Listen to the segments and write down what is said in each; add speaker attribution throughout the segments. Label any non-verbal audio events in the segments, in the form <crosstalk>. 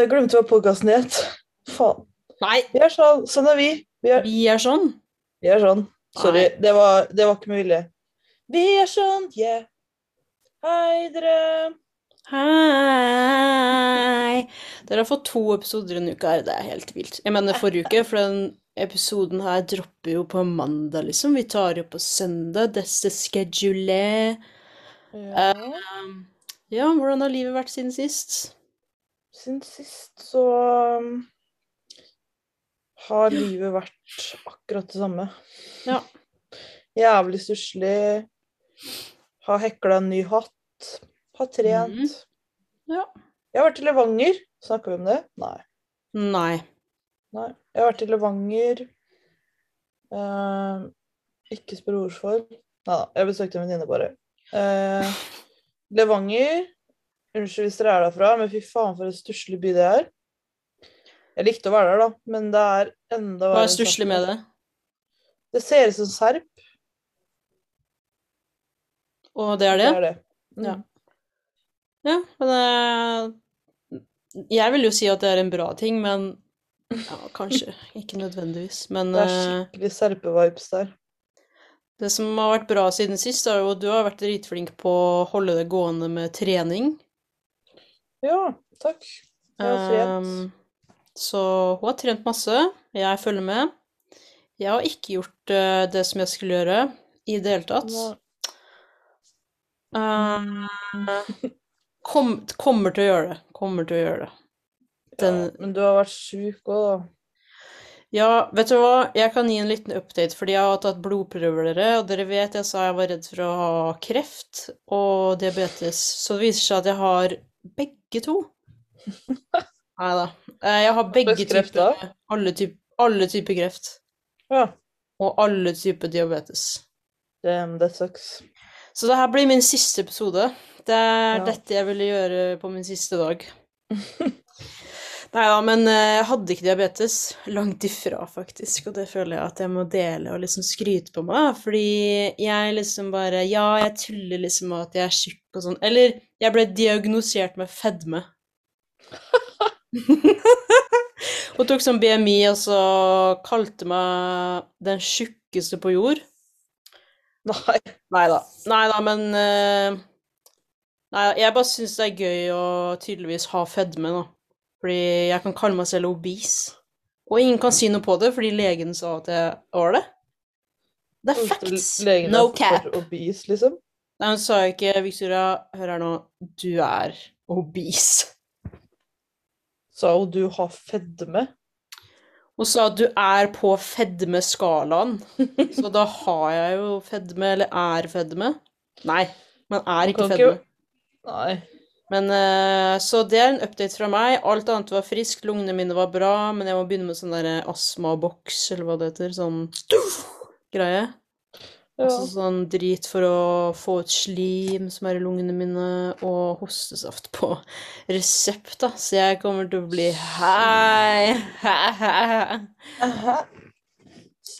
Speaker 1: Jeg glemte hva podkasten het. Faen.
Speaker 2: Nei,
Speaker 1: Vi er sånn. Sånn er vi. Vi er,
Speaker 2: vi er sånn.
Speaker 1: vi er sånn. Sorry. Det var, det var ikke med vilje. Vi er sånn, yeah. Hei, dere.
Speaker 2: Hei! Dere har fått to episoder denne uka. her, Det er helt vilt. Jeg mener forrige uke, for den episoden her dropper jo på mandag, liksom. Vi tar jo på søndag. Dette schedule. Um, ja, hvordan har livet vært siden sist?
Speaker 1: Siden sist så um, har livet vært akkurat det samme.
Speaker 2: Ja.
Speaker 1: Jævlig stusslig. Har hekla en ny hatt. Har trent.
Speaker 2: Mhm. Ja.
Speaker 1: Jeg har vært i Levanger. Snakker vi om det? Nei.
Speaker 2: Nei.
Speaker 1: Nei. Jeg har vært i Levanger. Eh, ikke sprorform. Nei da, jeg besøkte en venninne bare. Eh, Levanger. Unnskyld hvis dere er derfra, men fy faen for en stusslig by det er. Jeg likte å være der, da, men det er enda
Speaker 2: Hva
Speaker 1: verre
Speaker 2: er stusslig med det?
Speaker 1: Det ser ut som serp.
Speaker 2: Og det er det?
Speaker 1: Det er det. Mm.
Speaker 2: Ja. Ja, men eh, Jeg vil jo si at det er en bra ting, men ja, kanskje ikke nødvendigvis. Men
Speaker 1: Det er
Speaker 2: eh,
Speaker 1: skikkelig serpe-vibes der.
Speaker 2: Det som har vært bra siden sist, er jo at du har vært dritflink på å holde det gående med trening.
Speaker 1: Ja, takk. Jeg har trent.
Speaker 2: Ehm, så hun har trent masse. Jeg følger med. Jeg har ikke gjort eh, det som jeg skulle gjøre i det hele tatt.
Speaker 1: Nå-
Speaker 2: Ehm, kom, kommer til å gjøre det. Kommer til å gjøre det. Den,
Speaker 1: ja, men du har vært sjuk òg, da.
Speaker 2: Ja, vet du hva? Jeg kan gi en liten update, fordi jeg har tatt blodprøver dere, og dere vet jeg sa jeg var redd for å ha kreft og diabetes, så det viser seg at jeg har begge to. Neida. Eh, Jeg har begge
Speaker 1: slags kreft da?
Speaker 2: typer, alle typer, alle typer kreft,
Speaker 1: Ja.
Speaker 2: og alle typer diabetes.
Speaker 1: Damn, that sucks.
Speaker 2: Så det her blir min siste episode. Det er
Speaker 1: Ja.
Speaker 2: dette jeg ville gjøre på min siste dag. Nei da, men eh, jeg hadde ikke diabetes. Langt ifra, faktisk. Og det føler jeg at jeg må dele og liksom skryte på meg. da. Fordi jeg liksom bare Ja, jeg tuller liksom med at jeg er tjukk og sånn. Eller jeg ble diagnosert med fedme. Hun tok sånn BMI og så kalte meg den tjukkeste på jord.
Speaker 1: Nei.
Speaker 2: Nei da. men eh, Neida, jeg bare syns det er gøy å tydeligvis ha fedme, da. Fordi jeg kan kalle meg selv obes. Og ingen kan si noe på det, fordi legen sa at jeg var det. Det er facts.
Speaker 1: Legen
Speaker 2: No
Speaker 1: er
Speaker 2: cap.
Speaker 1: for Obese, liksom.
Speaker 2: Nei, hun sa ikke Victoria, hør her nå, du er obese.
Speaker 1: Sa hun du har fedme?
Speaker 2: Hun sa at du er på fedmeskalaen. <laughs> Så da har jeg jo fedme, eller er fedme. Nei, man er ikke
Speaker 1: Kan
Speaker 2: fedme.
Speaker 1: ikke- Nei.
Speaker 2: Men eh, Så det er en update fra meg. Alt annet var friskt, lungene mine var bra, men jeg må begynne med sånn der astmaboks, eller hva det heter. Sånn greie.
Speaker 1: Ja.
Speaker 2: Altså sånn drit for å få ut slim som er i lungene mine, og hostesaft på resept, da. Så jeg kommer til å bli hei, hei, hei.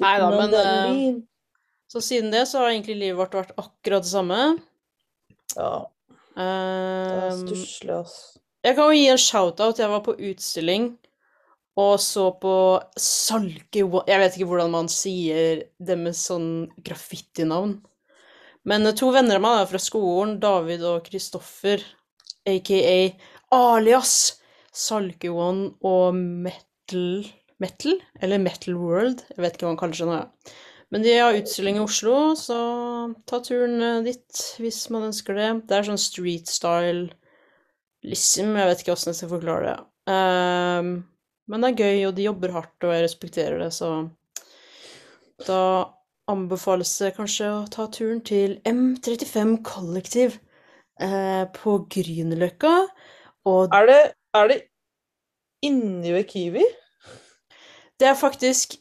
Speaker 2: Nei da, men, eh,
Speaker 1: Mandalin.
Speaker 2: <laughs> Så siden det så har egentlig livet vårt vært akkurat det samme.
Speaker 1: Ja, det er
Speaker 2: Um,
Speaker 1: stusslig, ass.
Speaker 2: Jeg kan jo gi en shout-out. Jeg var på utstilling og så på Salke One Jeg vet ikke hvordan man sier det med sånn graffitinavn. Men eh, to venner av meg er fra skolen, David og Kristoffer, aka alias Salke One og Metal Metal? Eller Metal World? Jeg vet ikke hva han kaller seg nå. ja. Men de har utstilling i Oslo, så ta turen eh, dit hvis man ønsker det. Det er sånn street style liksom, jeg vet ikke åssen jeg skal forklare det. Ehm, men det er gøy, og de jobber hardt, og jeg respekterer det, så da anbefales det kanskje å ta turen til M35 Kollektiv eh, på Grünerløkka. Og
Speaker 1: Er det, er det inni ved Kiwi? <laughs>
Speaker 2: det er faktisk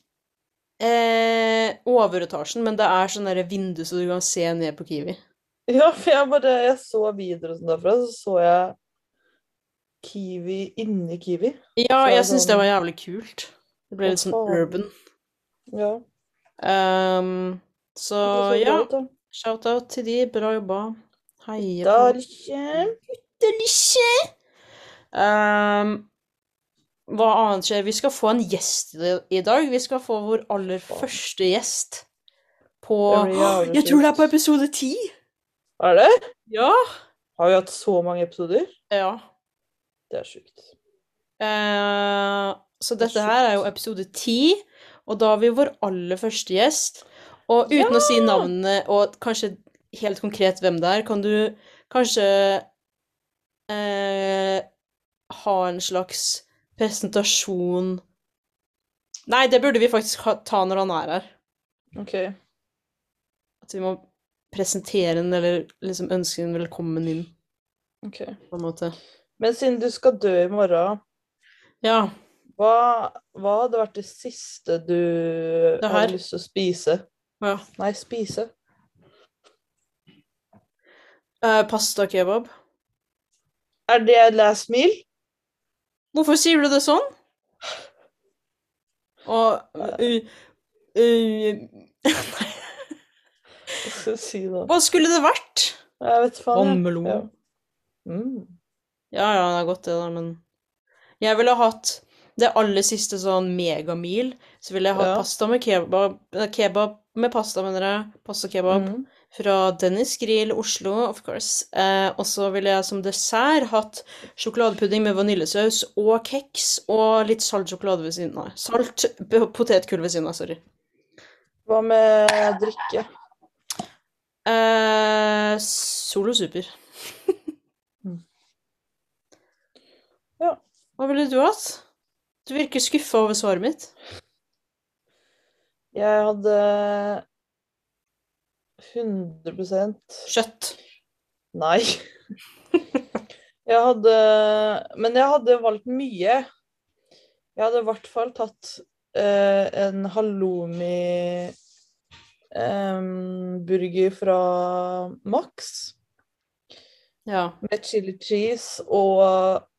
Speaker 2: eh, overetasjen, men det er sånn derre vindu så du kan se ned på Kiwi.
Speaker 1: Ja, for jeg bare Jeg så videoer og sånn derfra, så så jeg Kiwi inni Kiwi.
Speaker 2: Ja,
Speaker 1: Så
Speaker 2: jeg syns det
Speaker 1: sånn-
Speaker 2: var jævlig kult. Det ble litt sånn
Speaker 1: Hva faen?
Speaker 2: urban.
Speaker 1: Ja.
Speaker 2: Ehm, så
Speaker 1: det så bra
Speaker 2: ja,
Speaker 1: ut, da.
Speaker 2: shout-out til de. Bra jobba. Heie på
Speaker 1: Dalkje.
Speaker 2: Delicious! Ehm, hva annet skjer? Vi skal få en gjest i i dag. Vi skal få vår aller første gjest på
Speaker 1: Det blir jævlig
Speaker 2: <gasps> Jeg tror det er på
Speaker 1: sjukt.
Speaker 2: episode ti!
Speaker 1: Er det?
Speaker 2: Ja.
Speaker 1: Har vi hatt så mange episoder?
Speaker 2: ja.
Speaker 1: Det er sjukt.
Speaker 2: Eh, så
Speaker 1: Det er
Speaker 2: dette her er jo
Speaker 1: sjukt.
Speaker 2: episode ti, og da har vi vår aller første gjest. Og uten å si navnet og kanskje helt konkret hvem det er, kan du kanskje eh, ha en slags presentasjon Nei, det burde vi faktisk ha, ta når han er her.
Speaker 1: OK.
Speaker 2: At vi må presentere den, eller liksom ønske den velkommen inn,
Speaker 1: ok.
Speaker 2: på en måte.
Speaker 1: Men siden du skal dø i morgen,
Speaker 2: Ja.
Speaker 1: hva, hva hadde vært det siste du
Speaker 2: Det her.
Speaker 1: hadde lyst til å spise?
Speaker 2: ja.
Speaker 1: Nei, spise.
Speaker 2: Eh, pasta kebab.
Speaker 1: Er det last meal? <laughs>
Speaker 2: Hvorfor sier du det sånn? Og uh, uh,
Speaker 1: Hva skal jeg si da?
Speaker 2: <laughs> Hva skulle det vært?
Speaker 1: Jeg vet faen. jeg.
Speaker 2: Vannmelon.
Speaker 1: Ja. Mm.
Speaker 2: Ja, ja, det er godt, det, da, men Jeg ville hatt det aller siste sånn megamil. Så ville jeg hatt
Speaker 1: Ja.
Speaker 2: pasta med kebab eh, Kebab med pasta, mener jeg. Pasta kebab.
Speaker 1: Mm.
Speaker 2: Fra Dennis Grill, Oslo, of course. Eh, og så ville jeg som dessert hatt sjokoladepudding med vaniljesaus og kjeks og litt salt sjokolade ved siden av. Salt p- potetgull ved siden av, sorry.
Speaker 1: Hva med drikke?
Speaker 2: Eh, Solo Super.
Speaker 1: Mm. Ja.
Speaker 2: Hva ville du hatt? Du virker skuffa over svaret mitt.
Speaker 1: Jeg hadde 100
Speaker 2: Kjøtt.
Speaker 1: Nei. Jeg hadde Men jeg hadde valgt mye. Jeg hadde i hvert fall tatt eh, en halloumi-burger fra Max
Speaker 2: Ja.
Speaker 1: med chili cheese og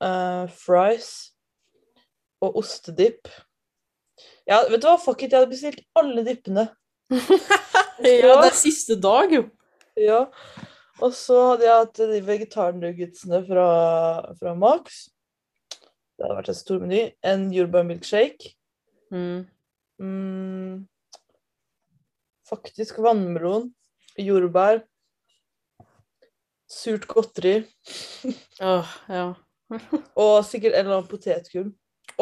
Speaker 1: eh, fries og ostedipp. Ja, vet du hva, fuck it, jeg hadde bestilt alle dippene.
Speaker 2: ja, det er siste dag, jo.
Speaker 1: Ja. Og så hadde jeg hatt de vegetarnuggetsene fra, fra Max. Det hadde vært en stor meny. En jordbærmilkshake.
Speaker 2: Mm.
Speaker 1: Mm, faktisk vannmelon. Jordbær. Surt godteri.
Speaker 2: Åh, ja.
Speaker 1: Og sikkert en eller annen potetgull.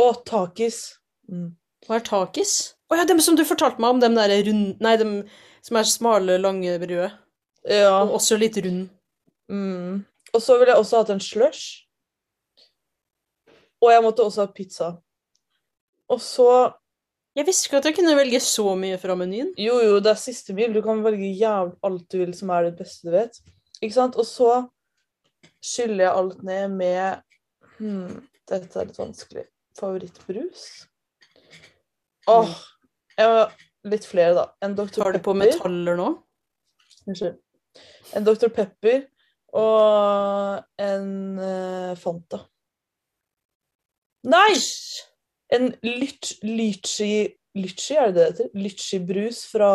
Speaker 1: Og takis. Mm.
Speaker 2: Hva er takis? Å ja, dem som du fortalte meg om, dem derre rund... Nei, dem som er smale, lange brød.
Speaker 1: Ja.
Speaker 2: Og også litt rund.
Speaker 1: Mm. Og så ville jeg også hatt en slush. Og jeg måtte også ha pizza. Og så
Speaker 2: Jeg visste ikke at jeg kunne velge så mye fra menyen.
Speaker 1: Jo, jo, det er siste mil. Du kan velge jævlig alt du vil som er det beste du vet. Ikke sant? Og så skyller jeg alt ned med hmm, Dette er litt vanskelig. Favorittbrus? Åh! jeg må- litt flere, da. En Dr.
Speaker 2: Tar du på
Speaker 1: Pepper.
Speaker 2: metaller nå?
Speaker 1: Unnskyld. En Dr. Pepper og en eh, Fanta. Nei! En lyt- lychee Lychee, er det det heter? Lychee-brus fra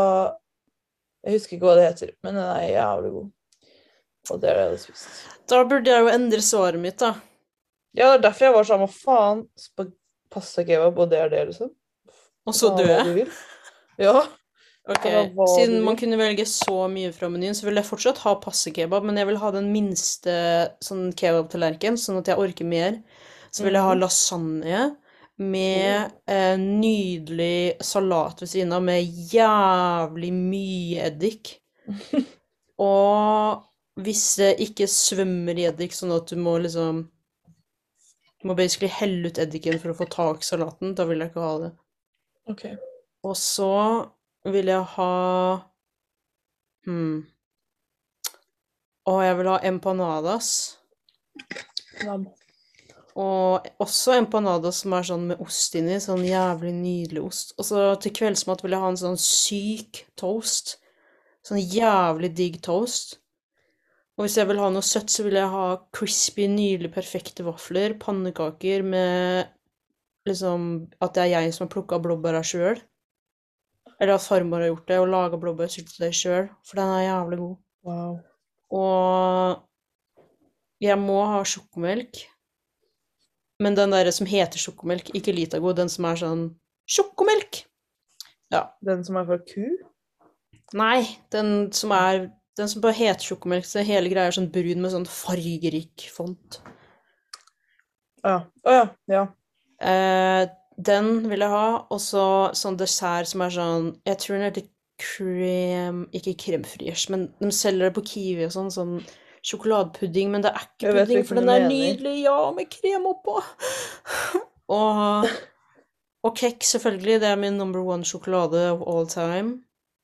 Speaker 1: Jeg husker ikke hva det heter, men den er jævlig god. Og det er det jeg hadde spist.
Speaker 2: Da burde jeg jo endre svaret mitt, da.
Speaker 1: Ja, det er derfor jeg var sånn Hva faen? spa- Pasta kebab, og det er det, liksom?
Speaker 2: Og så
Speaker 1: Faen,
Speaker 2: dør
Speaker 1: hva
Speaker 2: jeg.
Speaker 1: du vil. Ja.
Speaker 2: Ok,
Speaker 1: Eller hva
Speaker 2: Siden
Speaker 1: du
Speaker 2: man
Speaker 1: vil.
Speaker 2: kunne velge så mye fra menyen, så vil jeg fortsatt ha passekebab, men jeg vil ha den minste sånn kebabtallerken, sånn at jeg orker mer. Så vil jeg ha
Speaker 1: Mhm.
Speaker 2: lasagne med eh, nydelig salat ved siden av, med jævlig mye
Speaker 1: <laughs>
Speaker 2: eddik. Og hvis det ikke svømmer i eddik, sånn at du må liksom Du må basically helle ut eddiken for å få tak i salaten, da vil jeg ikke ha det.
Speaker 1: OK.
Speaker 2: Og så vil jeg ha hmm. Og jeg vil ha empanadas.
Speaker 1: Ja.
Speaker 2: Og også empanadas som er sånn med ost inni. Sånn jævlig nydelig ost. Og så til kveldsmat vil jeg ha en sånn syk toast. Sånn jævlig digg toast. Og hvis jeg vil ha noe søtt, så vil jeg ha crispy, nydelig perfekte vafler. Pannekaker med liksom At det er jeg som har plukka blåbæra sjøl. Eller at farmor har gjort det, og laga blåbærsyltetøy sjøl, for den er jævlig god.
Speaker 1: Wow.
Speaker 2: Og jeg må ha sjokomelk. Men den derre som heter sjokomelk, ikke Litago, den som er sånn Sjokomelk!
Speaker 1: Den som er fra ku?
Speaker 2: Nei, den som er Den som bare heter sjokomelk, så hele greia er sånn brun med sånn fargerik font.
Speaker 1: Å ja. Å ja. ja.
Speaker 2: Eh, den vil jeg ha. Og så sånn dessert som er sånn Jeg tror den heter krem... Ikke kremfriers, men de selger det på Kiwi og sånn. Sånn sjokoladepudding, men det er ikke
Speaker 1: Jeg vet
Speaker 2: pudding,
Speaker 1: hvilken
Speaker 2: for den
Speaker 1: du
Speaker 2: er
Speaker 1: mener.
Speaker 2: nydelig, ja, med krem oppå. <laughs> og og kjeks, selvfølgelig. Det er min number one sjokolade of all time.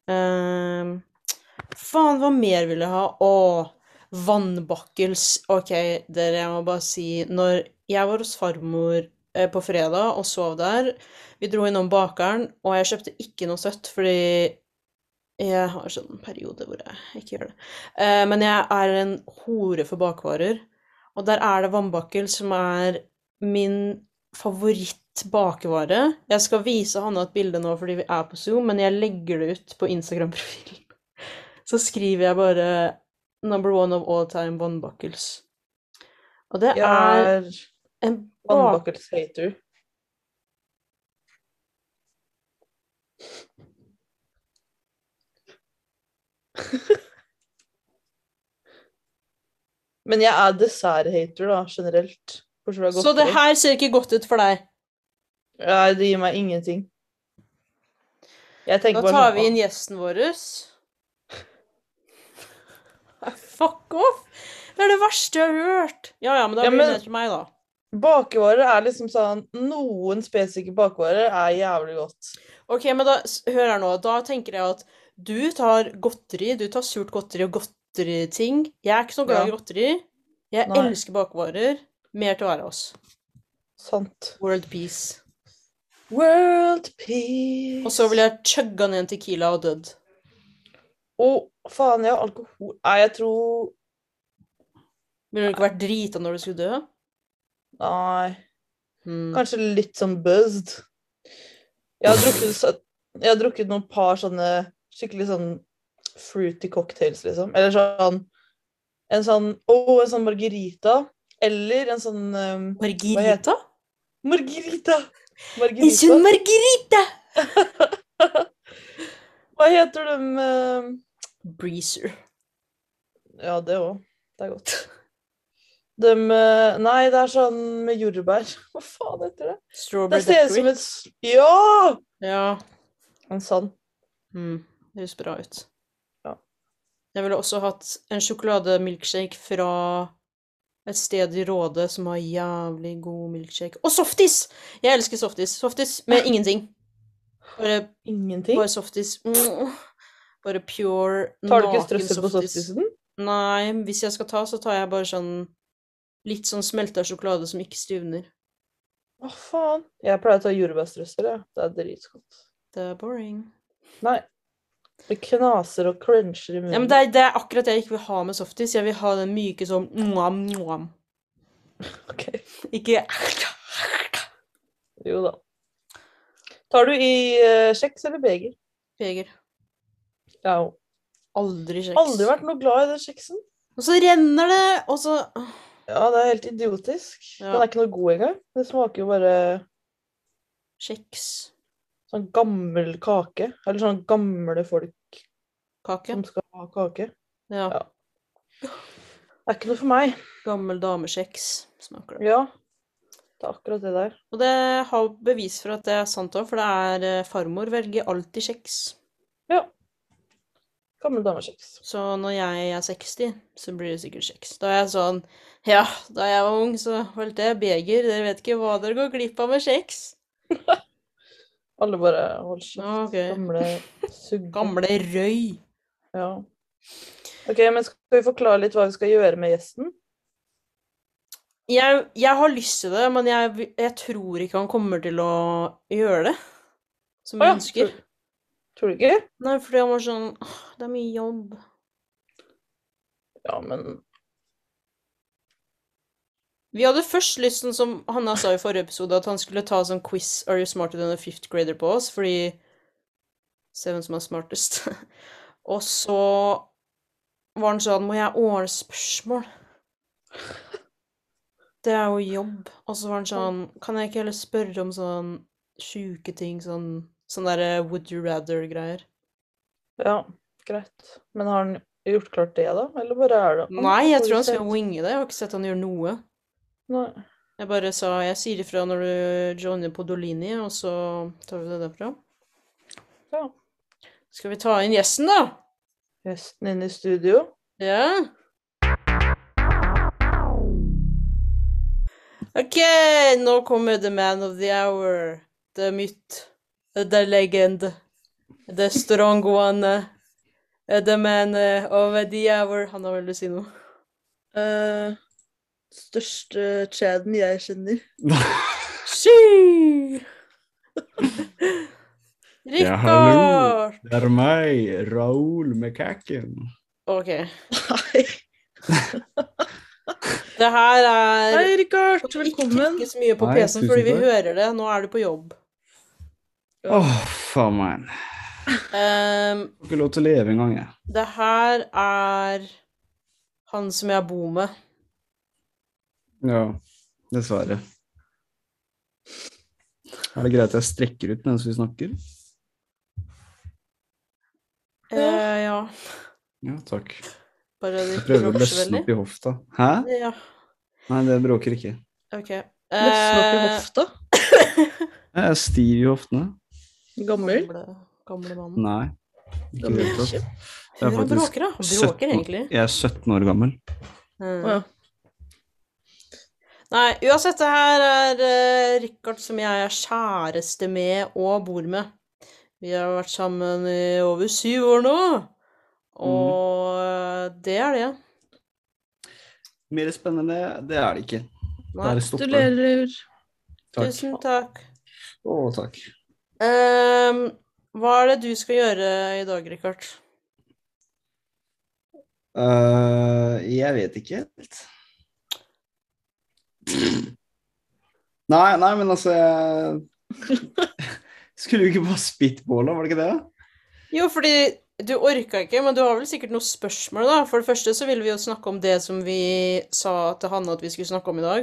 Speaker 2: Eh, faen, hva mer vil jeg ha? Åh, vannbakkels. Ok, dere, jeg må bare si Når jeg var hos farmor eh, på fredag og sov der. Vi dro innom bakeren, og jeg kjøpte ikke noe søtt, fordi jeg har sånn periode hvor jeg ikke gjør det. Eh, men jeg er en hore for bakvarer. Og der er det vannbakkel som er min favorittbakevare. Jeg skal vise Hanne et bilde nå fordi vi er på Zoom, men jeg legger det ut på Instagram-profilen. <laughs> Så skriver jeg bare 'Number one of all time vannbakkels'. Og det
Speaker 1: Jeg er
Speaker 2: er en bak... <laughs>
Speaker 1: vannbakkels-hater. Men jeg er dessert-hater, da, generelt. Bortsett fra
Speaker 2: Så det
Speaker 1: godteri.
Speaker 2: her ser ikke godt ut for deg.
Speaker 1: Nei, det gir meg ingenting. Jeg
Speaker 2: Da
Speaker 1: tenker bare
Speaker 2: tar
Speaker 1: nå-
Speaker 2: vi inn gjesten vår. <laughs> Fuck off! Det er det verste jeg har hørt. Ja ja, men da
Speaker 1: Ja,
Speaker 2: blir
Speaker 1: men-
Speaker 2: det til meg, da.
Speaker 1: Bakevarer er liksom sånn Noen spesifikke bakevarer er jævlig godt.
Speaker 2: Ok, men da, s- Hør her nå. Da tenker jeg at du tar godteri. Du tar surt godteri og godteriting. Jeg er ikke så glad i
Speaker 1: Ja.
Speaker 2: godteri. Jeg
Speaker 1: Nei.
Speaker 2: elsker bakvarer. Mer til å være oss.
Speaker 1: Sant.
Speaker 2: World peace.
Speaker 1: World peace.
Speaker 2: Og så ville jeg chugga ned en Tequila og dødd.
Speaker 1: Å, faen, jeg har alkohol Nei, jeg tror
Speaker 2: Ville du ikke vært drita når du skulle dø?
Speaker 1: Nei.
Speaker 2: Hmm.
Speaker 1: Kanskje litt sånn buzzed. Jeg har drukket, sø- jeg har drukket noen par sånne skikkelig sånn fruity cocktails, liksom. Eller sånn En sånn Å, en sånn margarita. Eller en sånn um,
Speaker 2: Margarita?
Speaker 1: Margarita!
Speaker 2: En
Speaker 1: Margarita.
Speaker 2: sånn margarita!
Speaker 1: Hva heter dem um,
Speaker 2: Breezer.
Speaker 1: Ja, det òg. Det er godt. Dem eh, Nei, det er sånn med jordbær. <laughs> Hva faen heter det? Det
Speaker 2: Strawberry
Speaker 1: ser ut som
Speaker 2: daiquiri.
Speaker 1: et s- Ja!
Speaker 2: Ja.
Speaker 1: En sånn.
Speaker 2: Mm, det høres bra ut.
Speaker 1: Ja.
Speaker 2: Jeg ville også hatt en sjokolademilkshake fra et sted i Råde som har jævlig god milkshake. Og softis! Jeg elsker softis. Softis
Speaker 1: <laughs>
Speaker 2: med ingenting. Bare,
Speaker 1: Ingenting.
Speaker 2: bare softis. Mm. Bare pure,
Speaker 1: Tar du ikke
Speaker 2: naken
Speaker 1: strøssel på
Speaker 2: softis.
Speaker 1: softisen?
Speaker 2: Nei, hvis jeg skal ta, så tar jeg bare sånn litt sånn smelta sjokolade som ikke stivner.
Speaker 1: Å, faen. Jeg pleier å ta jordbærstrøssel, jeg. Det er dritgodt.
Speaker 2: Det er boring.
Speaker 1: Nei. Det knaser og cruncher i munnen.
Speaker 2: Ja, men det er, det er akkurat det jeg ikke vil ha med softis. Jeg vil ha den myke sånn mwam, mwam.
Speaker 1: Ok.
Speaker 2: Ikke
Speaker 1: Jo da. Tar du i eh, kjeks eller beger?
Speaker 2: Beger.
Speaker 1: Jeg har jo
Speaker 2: Aldri kjeks.
Speaker 1: aldri vært noe glad i den kjeksen.
Speaker 2: Og så renner det, og så Åh,
Speaker 1: Ja, det er helt idiotisk.
Speaker 2: Ja.
Speaker 1: Den er ikke noe god engang. Det smaker jo bare
Speaker 2: Kjeks.
Speaker 1: sånn gammel kake. Eller sånn gamle folk
Speaker 2: Kake.
Speaker 1: som skal ha kake.
Speaker 2: Ja.
Speaker 1: Ja. Det er ikke noe for meg.
Speaker 2: Gammel damekjeks smaker det.
Speaker 1: Ja. Det er akkurat det der.
Speaker 2: Og det har bevis for at det er sant òg, for det er eh, farmor velger alltid kjeks.
Speaker 1: Gammel damekjeks.
Speaker 2: Så når jeg er 60, så blir det sikkert kjeks. Da er jeg sånn Ja, da jeg var ung, så holdt jeg beger. Dere vet ikke hva dere går glipp av med kjeks.
Speaker 1: Alle bare holder kjeft.
Speaker 2: Ok.
Speaker 1: Gamle sugge.
Speaker 2: Gamle røy.
Speaker 1: Ja. Ok, men skal vi forklare litt hva vi skal gjøre med gjesten?
Speaker 2: Jeg, jeg har lyst til det, men jeg, vil- jeg tror ikke han kommer til å gjøre det. Som
Speaker 1: Å
Speaker 2: jeg
Speaker 1: ja,
Speaker 2: ønsker.
Speaker 1: tror- Tror du ikke?
Speaker 2: Nei, fordi han var sånn «Åh, Det er mye jobb.
Speaker 1: Ja, men
Speaker 2: Vi hadde først lyst, sånn som Hanna sa i forrige episode, at han skulle ta sånn quiz Are you smarter than a fifth grader på oss, fordi Se hvem som er smartest. <laughs> Og så var han sånn Må jeg ordne spørsmål? <laughs> Det er jo jobb. Og så var han sånn Kan jeg ikke heller spørre om sånn sjuke ting? Sånn, sånn derre would you rather-greier.
Speaker 1: Ja, greit. Men har han gjort klart det, da? Eller bare er det
Speaker 2: Nei, jeg
Speaker 1: Får vi
Speaker 2: tror han
Speaker 1: se.
Speaker 2: skal winge det. Jeg har ikke sett han gjøre noe.
Speaker 1: Nei.
Speaker 2: Jeg bare sa Jeg sier ifra når du joiner på Dolini, og så tar vi det derfra.
Speaker 1: Ja.
Speaker 2: Skal vi ta inn gjesten, da?
Speaker 1: Gjesten inne i studio.
Speaker 2: Ja. Ok, nå kommer the man of the hour. The myth. The legend. The strong one. The man of the hour. Han har vel lyst til å si noe.
Speaker 1: Eh, største chaden jeg kjenner. <laughs>
Speaker 3: <laughs>
Speaker 2: Sky!
Speaker 3: Ja, hallo.
Speaker 2: Rikard!
Speaker 3: Det er meg, Raoul Mekaken.
Speaker 2: Ok.
Speaker 1: <laughs> Nei.
Speaker 2: Det her er
Speaker 1: Hei, Rikard.
Speaker 2: ikke-
Speaker 1: Velkommen.
Speaker 2: Ikke så mye på
Speaker 3: Nei,
Speaker 2: PC-en, fordi
Speaker 3: tusen
Speaker 2: vi
Speaker 3: takk.
Speaker 2: hører det. Nå er du på jobb.
Speaker 3: Åh, faen meg. Jeg
Speaker 2: Ehm,
Speaker 3: får ikke lov til å leve engang, jeg.
Speaker 2: det her er han som jeg bor med.
Speaker 3: Ja, dessverre. Er det greit at jeg strekker ut mens vi snakker?
Speaker 1: Ja.
Speaker 2: Eh, ja.
Speaker 3: Ja, takk.
Speaker 2: Bare det
Speaker 3: Jeg
Speaker 2: ikke
Speaker 3: prøver å
Speaker 2: bråker så
Speaker 3: løsne
Speaker 2: veldig.
Speaker 3: opp i hofta. Hæ?
Speaker 2: Ja,
Speaker 3: Nei, det bråker ikke.
Speaker 2: ok.
Speaker 1: Løsner opp i
Speaker 2: Eh,
Speaker 1: hofta.
Speaker 3: Jeg er stiv i hoftene.
Speaker 1: Gammel.
Speaker 2: gamle, gamle mannen.
Speaker 3: Nei. Ikke i
Speaker 1: Gammel
Speaker 3: det hele tatt.
Speaker 1: bikkje.
Speaker 3: Det er
Speaker 2: Hun
Speaker 3: faktisk
Speaker 2: bråker, da. Han
Speaker 3: 17
Speaker 2: Bråker, egentlig.
Speaker 3: Jeg er 17 år gammel.
Speaker 2: Mm.
Speaker 1: Å ja.
Speaker 2: Nei, uansett, det her er eh, Rikard som jeg er kjæreste med og bor med. Vi har vært sammen i over syv år nå, og eh, det er det.
Speaker 3: Mer spennende, det er det ikke.
Speaker 2: Nei,
Speaker 3: Der stopper det.
Speaker 1: Gratulerer.
Speaker 3: Takk.
Speaker 2: tusen takk.
Speaker 3: Å, takk.
Speaker 2: Ehm, hva er det du skal gjøre i dag, Rikard?
Speaker 3: Eh, jeg vet ikke helt. Nei, nei, men altså jeg... <laughs> Skulle vi ikke bare spitballa, var det ikke det?
Speaker 2: Jo, fordi du orka ikke, men du har vel sikkert noen spørsmål, da. For det første så ville vi jo snakke om det som vi sa til Hanne at vi skulle snakke om i dag.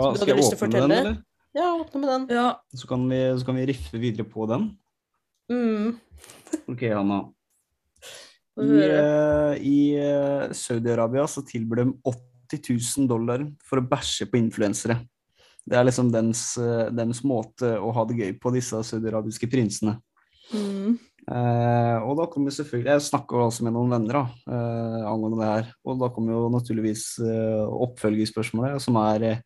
Speaker 2: Så du
Speaker 3: skal
Speaker 2: hadde
Speaker 3: jeg
Speaker 2: lyst til å
Speaker 3: åpne den,
Speaker 2: fortelle?
Speaker 3: eller?
Speaker 2: Ja, åpne med den.
Speaker 1: Ja.
Speaker 3: Så kan, vi, så kan vi riffe videre på den.
Speaker 2: Mm.
Speaker 3: Ok, Hanna.
Speaker 1: Få
Speaker 3: I,
Speaker 1: høre.
Speaker 3: eh, i eh, Saudi-Arabia så tilbyr de 80 000 dollar for å bæsje på influensere. Det er liksom dems, eh, dems måte å ha det gøy på, disse saudiarabiske prinsene.
Speaker 1: Mm.
Speaker 3: Eh, og da kommer selvfølgelig Jeg snakker også med noen venner da, eh, angående det her. Og da kommer jo naturligvis eh, oppfølgelsesspørsmålet, som er eh,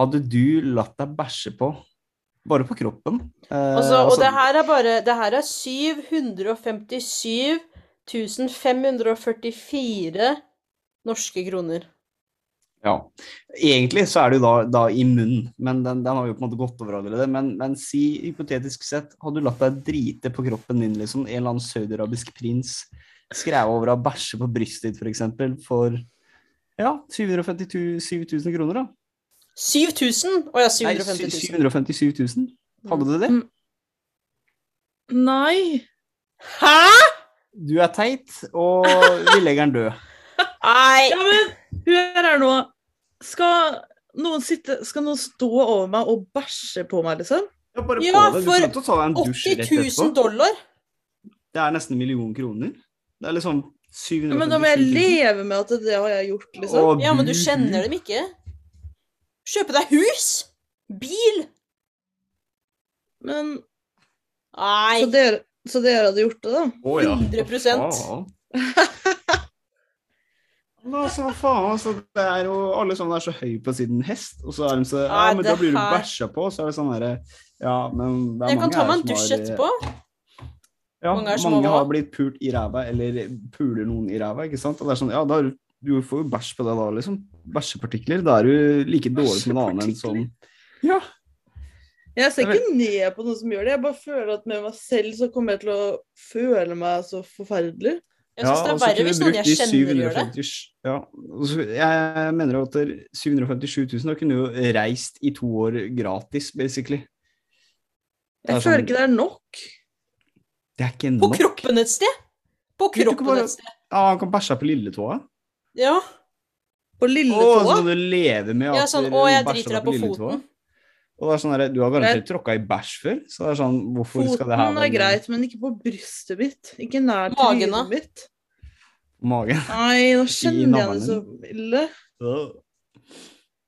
Speaker 3: Hadde du latt deg bæsje på, bare på kroppen? Eh,
Speaker 2: Altså, og
Speaker 3: altså,
Speaker 2: det her er bare Det her er 757 544 norske kroner.
Speaker 3: Ja. Egentlig så er det jo da, da i munnen, men den, den har vi jo på en måte gått over allerede. Men, men si hypotetisk sett, hadde du latt deg drite på kroppen din, liksom? En eller annen saudiarabisk prins skrev over å bæsje på brystet ditt, for eksempel, for ja, 752 7000 kroner, da.
Speaker 2: 7000? Å ja,
Speaker 3: Nei,
Speaker 2: 750
Speaker 3: sy-
Speaker 2: 000.
Speaker 3: 757 000. Hadde du det?
Speaker 1: Mm. Nei.
Speaker 2: Hæ?!
Speaker 3: Du er teit, og vi legger den <laughs> død.
Speaker 1: Ja,
Speaker 2: Nei!
Speaker 1: men hør her nå. Skal noen sitte Skal noen stå over meg og bæsje på meg, liksom?
Speaker 3: Ja, bare
Speaker 2: Ja,
Speaker 3: på det. Du
Speaker 2: for
Speaker 3: kan ikke ta deg en dusj
Speaker 2: 80
Speaker 3: rett
Speaker 2: 000
Speaker 3: etterpå.
Speaker 2: dollar?
Speaker 3: Det er nesten en million kroner. Det er liksom 757 000.
Speaker 1: Men da må jeg leve med at det har jeg gjort, liksom.
Speaker 3: Og
Speaker 2: Ja, men du kjenner dem ikke. Kjøpe deg hus? Bil?
Speaker 1: Men så
Speaker 2: Nei.
Speaker 1: dere, så dere hadde gjort det, da?
Speaker 3: Å, ja.
Speaker 2: 100%.
Speaker 3: Hva faen? <laughs> Men altså, hva faen? Altså, det er jo alle sånne er så høy på siden hest, og så er de så Ja,
Speaker 2: Nei,
Speaker 3: men
Speaker 2: det
Speaker 3: da blir du
Speaker 2: her-
Speaker 3: bæsja på, og så er det sånn derre Ja, men det er
Speaker 2: Jeg kan
Speaker 3: mange
Speaker 2: ta
Speaker 3: her
Speaker 2: meg en
Speaker 3: som
Speaker 2: dusj
Speaker 3: har- eh,
Speaker 2: etterpå.
Speaker 3: Ja,
Speaker 2: Mange er
Speaker 3: mange,
Speaker 2: som har
Speaker 3: har
Speaker 2: hva?
Speaker 3: blitt pult i ræva, eller puler noen i ræva, ikke sant? Og det er sånn, ja, da, er du- du får jo bæsj på deg da, liksom. Bæsjepartikler. Da er du like dårlig som en annen enn sånn. Ja.
Speaker 1: Jeg ser ikke ned på noen som gjør det. Jeg bare føler at med meg selv så kommer jeg til å føle meg så forferdelig.
Speaker 2: Jeg syns det er verre hvis noen jeg kjenner, gjør det.
Speaker 3: Ja, og så, jeg mener jo at det er 757 000, da kunne du jo reist i to år gratis, basically. Det er
Speaker 1: Jeg føler
Speaker 3: sånn-
Speaker 1: ikke det er nok.
Speaker 3: Det er ikke
Speaker 2: På
Speaker 3: nok.
Speaker 2: kroppen et sted! På
Speaker 3: Vil du ikke
Speaker 2: kroppen
Speaker 3: bare-
Speaker 2: et sted.
Speaker 3: Ja, han kan bæsje på lilletåa.
Speaker 2: Ja. På
Speaker 3: Å, så
Speaker 2: lilletåa?
Speaker 3: du lever med
Speaker 2: Ja,
Speaker 3: at
Speaker 2: sånn
Speaker 3: du
Speaker 2: Å, jeg
Speaker 3: bæsjer
Speaker 2: driter deg på
Speaker 3: lilletåa?
Speaker 2: foten.
Speaker 3: Og det er sånn der, Du har garantert tråkka i bæsj før, så det er sånn Hvorfor skal det her
Speaker 1: Foten er greit, men ikke på brystet mitt. Ikke nær
Speaker 2: Magen,
Speaker 1: trynet
Speaker 2: da?
Speaker 1: mitt.
Speaker 3: Magen.
Speaker 1: Nei, nå kjenner jeg det så
Speaker 3: navlen.
Speaker 1: ille.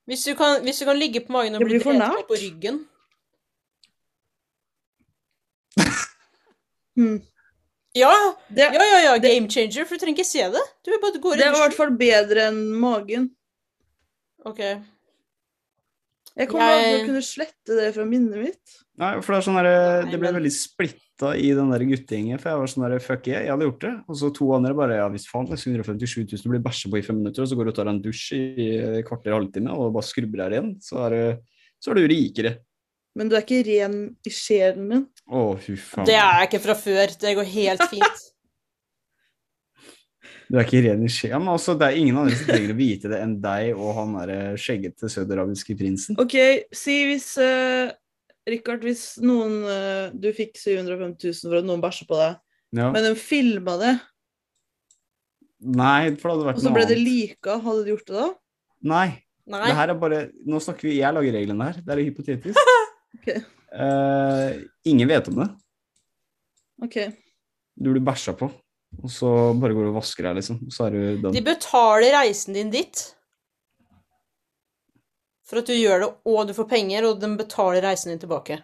Speaker 2: Hvis du, kan, hvis du kan ligge på magen og
Speaker 1: Det
Speaker 2: bli
Speaker 1: blir for
Speaker 2: drept
Speaker 1: nært.
Speaker 2: opp på ryggen
Speaker 1: Hm.
Speaker 2: Ja,
Speaker 1: Det,
Speaker 2: ja, ja, ja game changer, for du trenger ikke se det. Du bare går i
Speaker 1: det er i
Speaker 2: dusjen.
Speaker 1: hvert fall bedre enn magen.
Speaker 2: Ok.
Speaker 1: Jeg kommer aldri til
Speaker 2: Jeg-
Speaker 1: å kunne slette det fra minnet mitt.
Speaker 3: Nei, for det er sånn der,
Speaker 2: Nei,
Speaker 3: Det ble
Speaker 2: men-
Speaker 3: veldig splitta i den der guttegjengen, for jeg var sånn der Fuck yeah, jeg hadde gjort det. Og så to andre bare Ja visst faen, det er 157 000 du blir bæsja på i fem minutter, og så går du og tar deg en dusj i eh, kvarter halvtime og bare skrubber her igjen, så er, det- så er du rikere.
Speaker 1: Men du er ikke ren i sjelen din.
Speaker 3: Å, fy faen.
Speaker 2: Det er jeg ikke fra før. Det går
Speaker 1: <laughs>
Speaker 2: helt fint.
Speaker 3: Du er ikke ren i sjela, men også, det er ingen andre som trenger å vite det enn deg og han derre skjeggete saudiarabiske prinsen.
Speaker 1: OK, si hvis eh, Richard, hvis noen eh, Du fikk 705 000 for at noen bæsja på deg,
Speaker 3: Ja.
Speaker 1: men de filma det,
Speaker 3: Nei, for det hadde
Speaker 1: og
Speaker 3: vært
Speaker 1: så
Speaker 3: noe
Speaker 1: ble det
Speaker 3: annet.
Speaker 1: lika, hadde du gjort det da?
Speaker 3: Nei.
Speaker 2: Nei.
Speaker 3: Det her er bare Nå snakker vi Jeg lager reglene her. Det er hypotetisk.
Speaker 1: Ok.
Speaker 3: Eh, ingen vet om det.
Speaker 1: OK.
Speaker 3: Du blir bæsja på, og så bare går du og vasker deg, liksom. Så er du done.
Speaker 2: De betaler reisen din dit. For at du gjør det, og du får penger, og de betaler reisen din tilbake.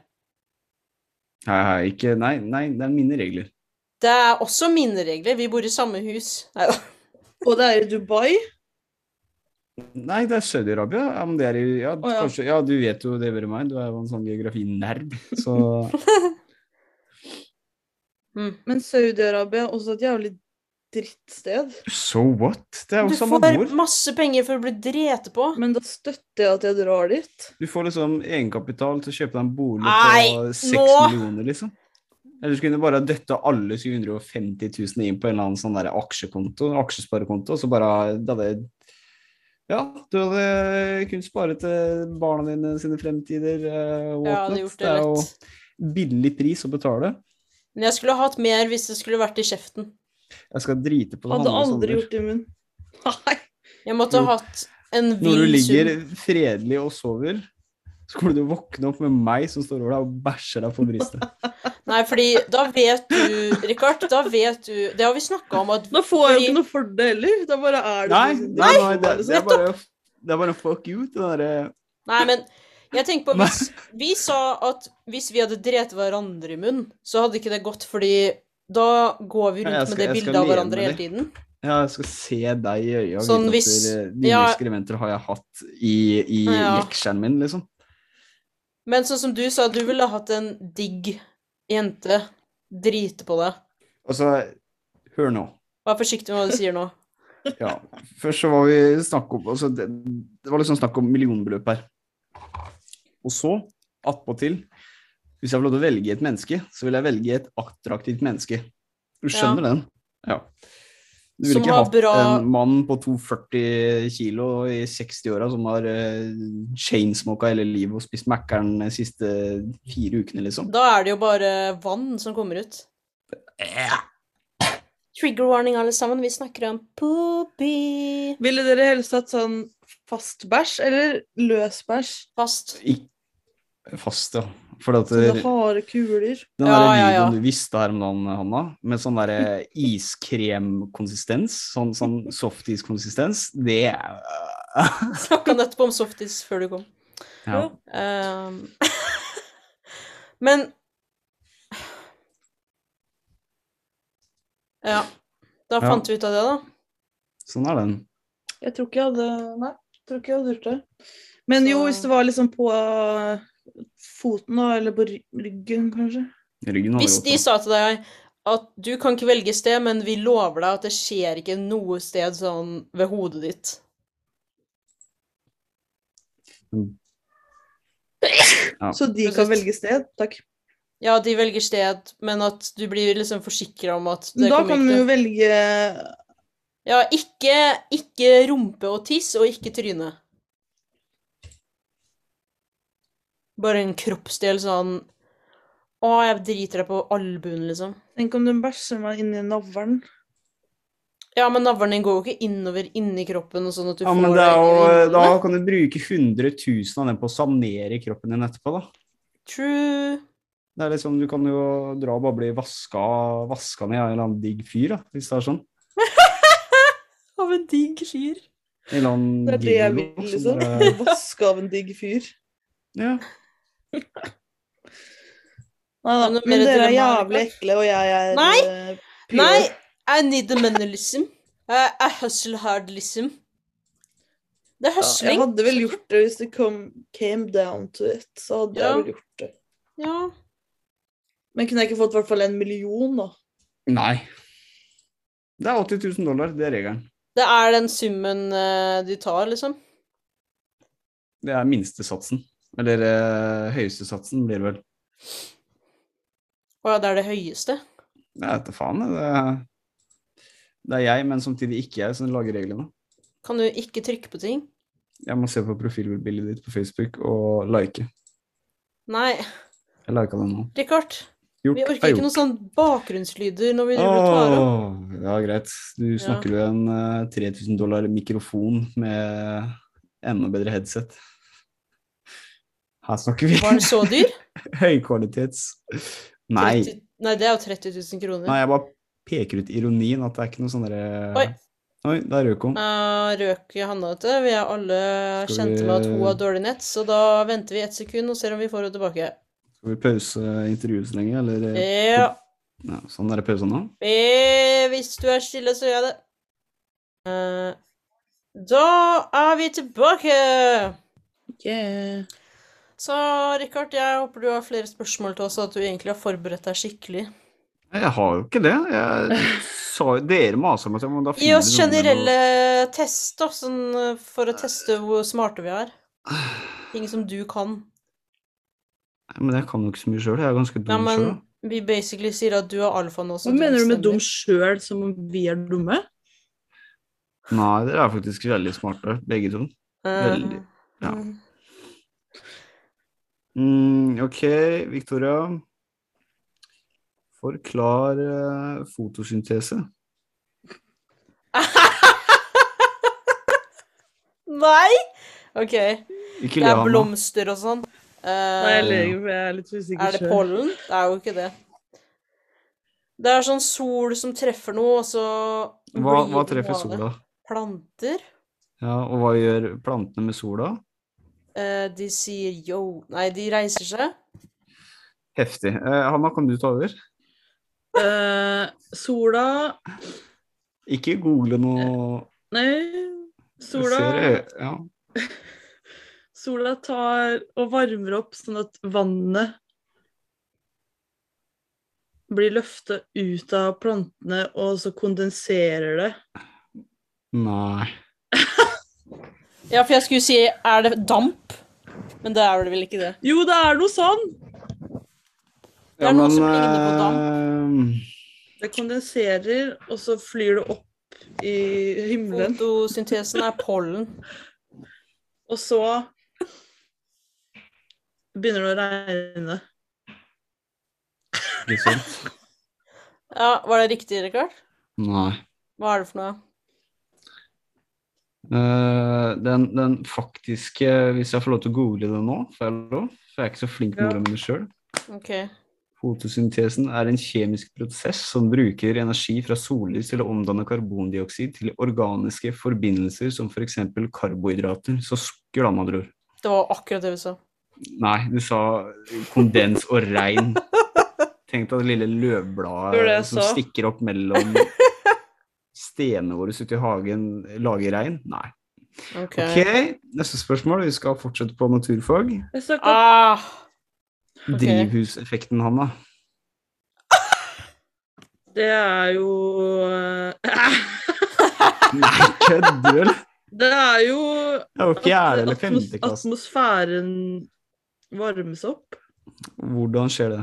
Speaker 3: Hei, hei, ikke Nei, nei, det er mine regler.
Speaker 2: Det er også mine regler. Vi bor i samme hus. Nei da.
Speaker 1: Og det er i Dubai.
Speaker 3: Nei, det er Saudi-Arabia. Ja, men det er i ja,
Speaker 1: Å, ja.
Speaker 3: Kanskje, ja, du vet jo det bedre enn meg. Du er jo en sånn geografinerd, så
Speaker 2: Mm.
Speaker 1: Men Saudi-Arabia er også et jævlig drittsted.
Speaker 3: So what? Det er
Speaker 2: <laughs> Du
Speaker 3: jo samme
Speaker 2: får
Speaker 3: ord.
Speaker 2: masse penger for å bli drept på.
Speaker 1: Men da støtter jeg at jeg drar dit.
Speaker 3: Du får liksom egenkapital til å kjøpe deg en bolig
Speaker 2: Nei,
Speaker 3: på 6
Speaker 2: nå-
Speaker 3: millioner, liksom. Eller så kunne du bare døtte alle 750 000 inn på en eller annen sånn der aksjekonto, aksjesparekonto, og så bare det hadde Ja, du hadde kunnet spare til barna dine sine fremtider. eh, og
Speaker 2: Jeg hadde
Speaker 3: whatnot.
Speaker 2: gjort det rett.
Speaker 3: jo billig pris å betale.
Speaker 2: Men jeg skulle hatt mer hvis det skulle vært i kjeften.
Speaker 3: Jeg skal drite på det
Speaker 1: Hadde
Speaker 3: Hanne
Speaker 1: aldri
Speaker 3: Sander.
Speaker 1: gjort det i munnen. <laughs> Nei.
Speaker 2: Jeg måtte
Speaker 3: Jo.
Speaker 2: ha hatt en
Speaker 3: Når du
Speaker 2: vill
Speaker 3: ligger
Speaker 2: sum.
Speaker 3: fredelig og sover, så kommer du til å våkne opp med meg som står over deg og bæsjer deg på brystet.
Speaker 2: Nei, fordi da vet du, Richard, da vet du Det har vi snakka om at
Speaker 1: Da får jeg jo
Speaker 2: Fordi-
Speaker 1: ikke noe for det heller. Da bare er det
Speaker 3: Nei,
Speaker 1: sånn som
Speaker 3: nei,
Speaker 1: det
Speaker 3: nei
Speaker 1: er,
Speaker 3: det, det, er
Speaker 1: liksom.
Speaker 3: bare, det eh, er bare fuck you til den derre
Speaker 2: Nei, men jeg tenker på
Speaker 3: Nei.
Speaker 2: hvis Vi sa at hvis vi hadde drept hverandre i munnen, så hadde ikke det gått, fordi da går vi
Speaker 3: Ja,
Speaker 2: rundt
Speaker 3: jeg
Speaker 2: med
Speaker 3: skal-
Speaker 2: det
Speaker 3: jeg skal
Speaker 2: bildet av
Speaker 3: leve
Speaker 2: hverandre
Speaker 3: med
Speaker 2: hele tiden.
Speaker 3: Ja, jeg skal se deg i øya. og
Speaker 2: Sånn
Speaker 3: vite at
Speaker 2: hvis-
Speaker 3: dere- Dine
Speaker 2: ja.
Speaker 3: ekskrementer har jeg hatt i, i
Speaker 2: Ja.
Speaker 3: leksjen min, liksom.
Speaker 2: Men sånn som du sa, du ville hatt en digg jente drite på deg.
Speaker 3: Og så Altså, Hør nå.
Speaker 2: Vær forsiktig med hva du sier nå.
Speaker 3: Ja. Først så var vi snakk om altså det, det var liksom snakk om millionbeløp her. Og så, attpåtil Hvis jeg får lov til å velge et menneske, så vil jeg velge et attraktivt menneske. Du skjønner den? Ja. Du vil
Speaker 2: Som
Speaker 3: ikke
Speaker 2: har
Speaker 3: ha
Speaker 2: bra-
Speaker 3: en mann på 240 kilo i 60-åra som har uh, chainsmoka hele livet og spist Mækkern de siste fire ukene, liksom.
Speaker 2: Da er det jo bare vann som kommer ut. Trigger warning, alle sammen. Vi snakker om poopy.
Speaker 1: Ville dere helst hatt sånn fast bæsj eller løs bæsj?
Speaker 2: Fast.
Speaker 3: Ik fast, ja. For at eh,
Speaker 1: Sånne harde kuler.
Speaker 3: Den
Speaker 2: Ja,
Speaker 3: der
Speaker 2: ja,
Speaker 3: videoen
Speaker 2: ja.
Speaker 3: du visste her om dagen, Hanna, med sånn der eh, iskremkonsistens, sånn, sånn softiskonsistens, det er eh,
Speaker 2: Snakka nettopp om softis før du kom.
Speaker 3: ja.
Speaker 2: Ehm, <laughs> Men Ja. Da
Speaker 3: Ja.
Speaker 2: fant vi ut av det, da.
Speaker 3: Sånn er den.
Speaker 1: Jeg tror ikke jeg hadde Nei, jeg tror ikke jeg hadde gjort det. Men jo,
Speaker 2: Så-
Speaker 1: hvis det var liksom på eh, foten da, eller på ry- ryggen, kanskje.
Speaker 3: Ryggen hadde
Speaker 2: Hvis
Speaker 3: gått
Speaker 2: de sa til deg at du kan ikke velge sted, men vi lover deg at det skjer ikke noe sted sånn ved hodet ditt.
Speaker 3: Ja.
Speaker 1: Så de
Speaker 2: Precis.
Speaker 1: kan velge sted. Takk.
Speaker 2: Ja, de velger sted, men at du blir liksom forsikra om at det
Speaker 1: Men da
Speaker 2: kommer
Speaker 1: kan man
Speaker 2: ikke
Speaker 1: jo
Speaker 2: til
Speaker 1: velge
Speaker 2: Ja, ikke, ikke rumpe og tiss, og ikke tryne. Bare en kroppsdel sånn Å, jeg driter deg på albuen, liksom.
Speaker 1: Tenk om den bæsjer meg inni navlen.
Speaker 2: Ja, men navlen din går jo ikke innover inni kroppen og sånn at du
Speaker 3: Ja,
Speaker 2: får
Speaker 3: men det er
Speaker 2: inn i
Speaker 3: jo, eh, da
Speaker 2: lungene.
Speaker 3: kan du bruke 100 000 av den på å sanere kroppen din etterpå, da.
Speaker 2: True.
Speaker 3: Det er liksom, Du kan jo dra og bare bli vaska, vaska ned av en eller annen digg fyr, da, hvis det er sånn.
Speaker 2: Av en digg fyr.
Speaker 3: En eller annen
Speaker 1: Det er det jeg
Speaker 3: gigolo
Speaker 1: vil, <laughs>
Speaker 3: som
Speaker 1: liksom.
Speaker 3: bare-
Speaker 1: Vaske av en digg fyr.
Speaker 3: Ja.
Speaker 1: Nei da,
Speaker 2: Men det er
Speaker 1: men
Speaker 2: mer
Speaker 1: dere er
Speaker 2: dramatisk.
Speaker 1: jævlig ekle, og jeg er
Speaker 2: Nei!
Speaker 1: eh, pure.
Speaker 2: Nei, I need the money, liksom. I, I hustle hard, liksom. Det
Speaker 1: Ja,
Speaker 2: er
Speaker 1: jeg
Speaker 2: hustling.
Speaker 1: hadde vel gjort det hvis det kom, came down to it. Så hadde
Speaker 2: Ja.
Speaker 1: jeg vel gjort det.
Speaker 2: Ja.
Speaker 1: Men kunne jeg ikke fått i hvert fall en million, da?
Speaker 3: Nei. Det er 80 000 dollar, det er regelen.
Speaker 2: Det er den summen eh, de tar, liksom.
Speaker 3: Det er minstesatsen. Eller eh, høyeste satsen blir det vel.
Speaker 2: Å ja, det er det høyeste.
Speaker 3: Jeg vet da faen. jeg. Det er, det er jeg, men samtidig ikke jeg, som lager reglene.
Speaker 2: Kan du ikke trykke på ting?
Speaker 3: Jeg må se på profilbildet ditt på Facebook og like.
Speaker 2: Nei,
Speaker 3: Jeg lika det nå.
Speaker 2: Richard.
Speaker 3: Gjort
Speaker 2: Vi
Speaker 3: er
Speaker 2: orker
Speaker 3: gjort.
Speaker 2: ikke noen sånn bakgrunnslyder når vi driver og tar opp.
Speaker 3: Åh, ja, greit. Du snakker jo en eh, 3000 dollar mikrofon med enda bedre headset. Her snakker vi
Speaker 2: Var den så dyr?
Speaker 3: høykvalitets... <laughs> Nei.
Speaker 2: 30 Nei, det er jo 30 000 kroner.
Speaker 3: Nei, jeg bare peker ut ironien, at det er ikke noe sånn derre
Speaker 2: Oi.
Speaker 3: Oi, der røk hun.
Speaker 2: Eh, røk Hanna vet du. Vi er alle
Speaker 3: Skal
Speaker 2: kjente
Speaker 3: vi-
Speaker 2: med at hun har dårlig nett, så da venter vi ett sekund og ser om vi får henne tilbake.
Speaker 3: Skal vi pause intervjuet så lenge, eller eh,
Speaker 2: Ja.
Speaker 3: ja, Sånn er det pausen nå?
Speaker 2: Eh, hvis du er stille, så gjør jeg det. Eh, da er vi tilbake!
Speaker 1: Yeah.
Speaker 2: Så Richard, jeg håper du har flere spørsmål til oss, og at du egentlig har forberedt deg skikkelig.
Speaker 3: Nei, Jeg har jo ikke det. Jeg sa jo Dere maser om at jeg må da
Speaker 2: Gi
Speaker 3: finne
Speaker 2: oss
Speaker 3: noen med noe-
Speaker 2: generelle test, da, sånn eh, for å teste hvor smarte vi er. Ting som du kan.
Speaker 3: Nei, Men jeg kan jo ikke så mye sjøl. Jeg er ganske
Speaker 2: Ja,
Speaker 3: dum sjøl.
Speaker 2: men vi basically sier at du er alfa nå. så
Speaker 1: Hva mener du med
Speaker 2: bestemmer.
Speaker 1: dum sjøl, som om vi er dumme?
Speaker 3: Nei, dere er faktisk veldig smarte, begge to.
Speaker 2: Eh,
Speaker 3: Veldig, ja.
Speaker 2: mm.
Speaker 3: Mm, ok, Victoria. Forklar eh, fotosyntese.
Speaker 2: Nei! OK.
Speaker 3: Ikke
Speaker 2: Det
Speaker 3: le
Speaker 2: er
Speaker 3: av meg.
Speaker 2: blomster og sånn. Eh,
Speaker 1: Nei, jeg ler ikke, for jeg er litt usikker
Speaker 2: er det
Speaker 1: selv.
Speaker 2: pollen? Det er jo ikke det. Det er sånn sol som treffer noe, og så
Speaker 3: Hva,
Speaker 2: blir
Speaker 3: hva
Speaker 2: det
Speaker 3: treffer
Speaker 2: noe av det.
Speaker 3: sola?
Speaker 2: Planter.
Speaker 3: Ja, og hva gjør plantene med sola?
Speaker 2: Eh, de sier yo Nei, de reiser seg.
Speaker 3: Heftig. Eh, Hanna, kan du ta over?
Speaker 1: Eh, sola
Speaker 3: Ikke google
Speaker 2: Eh,
Speaker 3: noe
Speaker 1: Nei,
Speaker 3: Ser
Speaker 1: sola,
Speaker 3: jeg- ja.
Speaker 1: sola tar og varmer opp sånn at vannet blir løfta ut av plantene, og så kondenserer det.
Speaker 3: Nei.
Speaker 2: Ja, for jeg skulle si er det damp? Men det er det vel ikke det.
Speaker 1: Jo, det er noe sånn!
Speaker 2: Det er noe som ligner på
Speaker 1: Det kondenserer, og så flyr det opp i himmelen.
Speaker 2: Fotosyntesen er pollen.
Speaker 1: Og så begynner det å regne.
Speaker 3: eh, Ikke sant?
Speaker 2: Ja, Var det riktig, Rikard?
Speaker 3: Nei.
Speaker 2: Hva er det for noe?
Speaker 3: Eh, den, den faktiske Hvis jeg får lov til å google det nå, får jeg lov? For jeg er ikke så flink med
Speaker 1: Ja.
Speaker 3: å det sjøl.
Speaker 2: Ok.
Speaker 3: Fotosyntesen er en kjemisk prosess som bruker energi fra sollys til å omdanne karbondioksid til organiske forbindelser som f.eks. karbohydrater. Så skula, med andre ord.
Speaker 2: Det var akkurat det vi sa.
Speaker 3: Nei, du sa kondens og regn. Tenk deg det lille
Speaker 1: Det var det
Speaker 3: løvbladet
Speaker 1: jeg
Speaker 3: som
Speaker 1: sa.
Speaker 3: stikker opp mellom stenene våre ute i hagen, lager regn. Nei.
Speaker 2: Ok.
Speaker 3: Ok, neste spørsmål. Vi skal fortsette på naturfag.
Speaker 1: Jeg snakka
Speaker 2: Ah, Ok.
Speaker 3: Drivhuseffekten, Hanna.
Speaker 1: Det er jo eh,
Speaker 3: Nei, kødder du?
Speaker 1: <laughs> Det er jo
Speaker 3: Det var fjerde eller
Speaker 1: atmos-
Speaker 3: femte klasse.
Speaker 1: Atmosfæren varmes opp,
Speaker 3: Hvordan skjer det?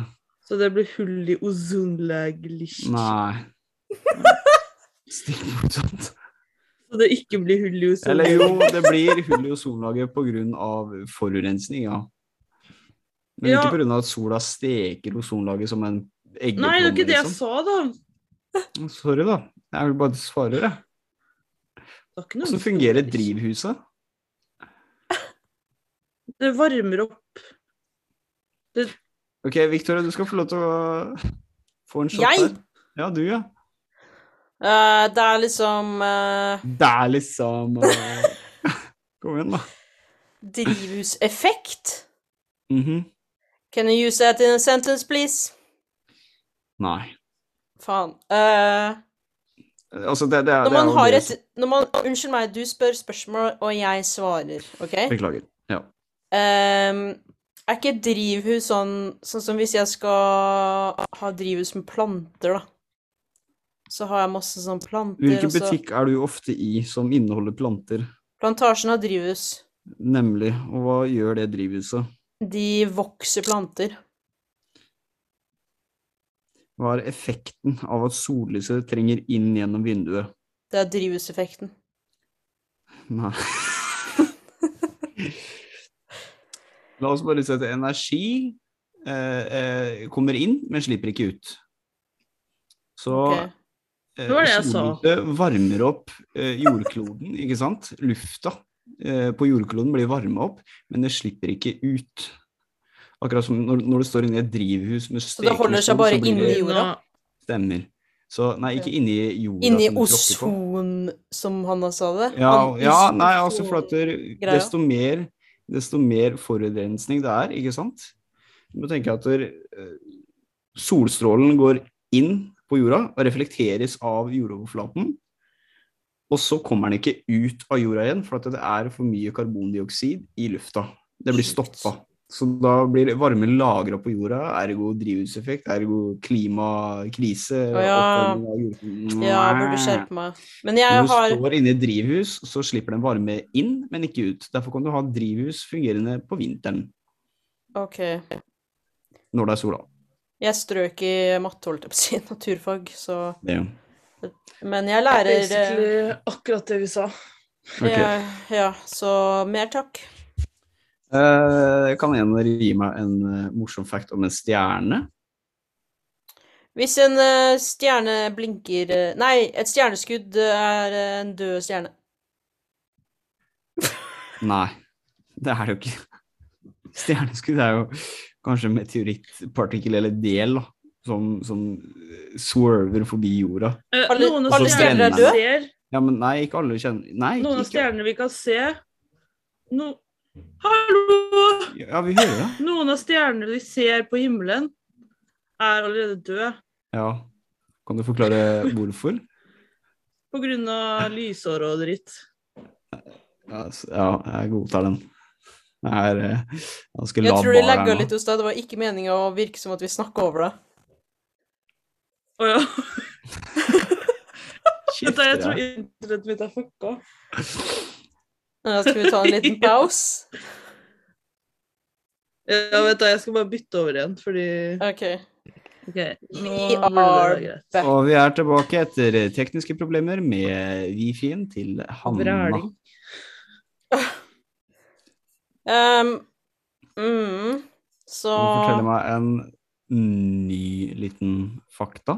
Speaker 1: så det blir hull i ozonlaget.
Speaker 3: Nei. Stikk motsatt.
Speaker 1: Så det ikke blir hull i
Speaker 3: Eller
Speaker 1: ozonlaget.
Speaker 3: jo, det blir hull i ozonlaget pga. forurensning, ja. Men
Speaker 1: Ja.
Speaker 3: ikke pga. at sola steker ozonlaget som en eggeplomme.
Speaker 1: Nei, det var ikke det altså. jeg
Speaker 3: liksom.
Speaker 1: sa, da.
Speaker 3: Sorry, da. Jeg vil bare svare, jeg.
Speaker 1: Det var ikke noe-
Speaker 3: Hvordan fungerer drivhuset?
Speaker 1: Det varmer opp.
Speaker 3: Ok, Victoria, du skal få lov til å få en shot
Speaker 2: Jeg?
Speaker 3: der. Ja, du, ja.
Speaker 2: Eh, det er liksom eh,
Speaker 3: Det er liksom eh, <laughs> Kom igjen, da.
Speaker 2: drivhuseffekt.
Speaker 3: Mhm.
Speaker 2: Can you use that in a sentence, please?
Speaker 3: Nei.
Speaker 2: Faen. Eh,
Speaker 3: Altså, det, det, er-
Speaker 2: når
Speaker 3: det er
Speaker 2: man
Speaker 3: jo
Speaker 2: har
Speaker 3: det
Speaker 2: et når man, Unnskyld meg, du spør spørsmål, og jeg svarer, OK?
Speaker 3: som- Beklager. Ja.
Speaker 2: Ehm, er ikke drivhus sånn Sånn som hvis jeg skal ha drivhus med planter, da. Så har jeg masse sånne planter.
Speaker 3: Hvilken
Speaker 2: og så-
Speaker 3: butikk er du ofte i som inneholder planter?
Speaker 2: Plantasjen har drivhus.
Speaker 3: Nemlig. Og hva gjør det drivhuset?
Speaker 2: De vokser planter.
Speaker 3: Hva er effekten av at sollyset trenger inn gjennom vinduet?
Speaker 2: Det er drivhuseffekten. <laughs>
Speaker 3: Nei. La oss bare sette energi eh, eh, kommer inn, men slipper ikke ut. Så
Speaker 2: Ok.
Speaker 3: eh,
Speaker 1: Det var det jeg sa.
Speaker 3: sollyset varmer opp eh, jordkloden, ikke sant? Lufta eh, på jordkloden blir varma opp, men det slipper ikke ut. Akkurat som når, når du står inne i et drivhus med
Speaker 2: Så det holder seg
Speaker 3: stekemotstand,
Speaker 2: bare
Speaker 3: så blir
Speaker 2: inne i
Speaker 3: det-
Speaker 2: jorda?
Speaker 1: Nå-
Speaker 3: Stemmer. Så nei, ikke inni jorda.
Speaker 2: Inni
Speaker 3: som du tråkker på.
Speaker 2: ozon, som Hanna sa det?
Speaker 3: Ja,
Speaker 2: Han-
Speaker 3: ja
Speaker 2: ozon-
Speaker 3: nei, altså for at det-
Speaker 2: greia.
Speaker 3: desto mer, desto mer forurensning det er, ikke sant? Du må tenke at der, eh, solstrålen går inn på jorda og reflekteres av jordoverflaten, og så kommer den ikke ut av jorda igjen, for at det er for mye karbondioksid i lufta. Det blir
Speaker 2: Sjukt.
Speaker 3: stoppa. Så da blir varme lagra på jorda, ergo drivhuseffekt, ergo klimakrise.
Speaker 2: Å ja.
Speaker 3: oppvarming av jorden.
Speaker 2: Ja, jeg burde skjerpe meg. Men jeg
Speaker 3: Når du
Speaker 2: har
Speaker 3: står inne i drivhus, så slipper den varme inn, men ikke ut. Derfor kan du ha drivhus fungerende på vinteren,
Speaker 2: OK.
Speaker 3: når det er sola.
Speaker 2: Jeg strøk i matte, holdt jeg på å si, <laughs> naturfag, så
Speaker 3: Det.
Speaker 2: Men jeg lærer eh,
Speaker 1: Basically akkurat det vi sa.
Speaker 3: Ok.
Speaker 2: Ja, ja, så mer takk.
Speaker 3: Eh, kan en av dere gi meg en eh, morsom fact om en stjerne?
Speaker 2: Hvis en eh, stjerne blinker eh, Nei, et stjerneskudd er eh, en død stjerne.
Speaker 3: Nei, det er det jo ikke. <laughs> Stjerneskudd er jo kanskje en meteorittpartikkel eller del da, som, som eh, swerver forbi jorda.
Speaker 1: Eh,
Speaker 2: Alle-
Speaker 1: noen av
Speaker 3: alle
Speaker 1: stjernene
Speaker 3: stjerner er
Speaker 1: vi
Speaker 3: døde?
Speaker 1: ser,
Speaker 3: Ja, men nei, ikke alle kjenner Nei,
Speaker 1: noen av
Speaker 3: ikke
Speaker 1: stjernene vi kan se no... Hallo!
Speaker 3: Ja, vi hører det.
Speaker 1: Noen av stjernene vi ser på himmelen, er allerede døde
Speaker 3: Ja. Kan du forklare hvorfor?
Speaker 1: på grunn av lysår og dritt.
Speaker 3: Ja, s- ja, jeg godtar den. Jeg er eh, ganske
Speaker 2: Jeg
Speaker 3: lav
Speaker 2: tror det
Speaker 3: bar
Speaker 2: lagga
Speaker 3: her
Speaker 2: litt
Speaker 3: nå.
Speaker 2: hos deg. Det var ikke meninga å virke som at vi snakka over deg.
Speaker 1: Å ja.
Speaker 3: Shit,
Speaker 1: Vent da, jeg
Speaker 3: det
Speaker 1: tror
Speaker 3: er-
Speaker 1: internettet mitt er fucka.
Speaker 2: Men Da Eh, skal vi ta en liten
Speaker 3: <laughs>
Speaker 2: pause.
Speaker 1: Ja, vet du, jeg skal bare bytte over igjen, fordi
Speaker 2: OK.
Speaker 1: OK. Nå
Speaker 2: We
Speaker 1: burde det være
Speaker 2: are
Speaker 1: greit.
Speaker 2: back.
Speaker 3: Og vi er tilbake etter eh, tekniske problemer med wifien til Hanna.
Speaker 1: Vræling.
Speaker 2: Um, mm, så
Speaker 3: Hun forteller meg en ny liten fakta.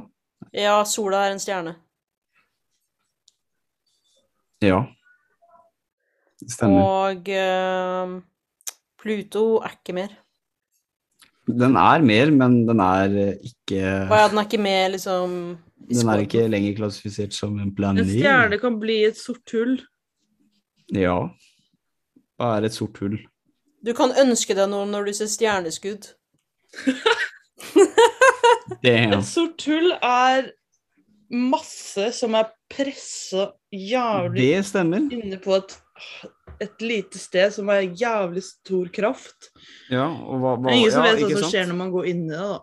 Speaker 2: Ja, sola er en stjerne.
Speaker 3: Ja. Det Stemmer.
Speaker 2: Og um, Pluto er ikke mer.
Speaker 3: Den er mer, men den er eh,
Speaker 2: Å
Speaker 3: ikke
Speaker 2: ja, den er ikke med, liksom i
Speaker 3: Den
Speaker 2: spor-
Speaker 3: er ikke lenger klassifisert som en
Speaker 1: En
Speaker 3: planet.
Speaker 1: stjerne kan bli et sort hull.
Speaker 3: Ja. Det er et sort hull.
Speaker 2: Du kan ønske deg noe når du ser stjerneskudd.
Speaker 1: Et
Speaker 3: Damn.
Speaker 1: <laughs> sort hull er masse som er pressa jævlig
Speaker 3: Det stemmer.
Speaker 1: inne på et, et lite sted som er jævlig stor kraft.
Speaker 3: Ja, og hva, hva
Speaker 1: Det er ingen som
Speaker 3: ja,
Speaker 1: vet
Speaker 3: ikke
Speaker 1: hva som
Speaker 3: sant?
Speaker 1: skjer når man går inn i det, da.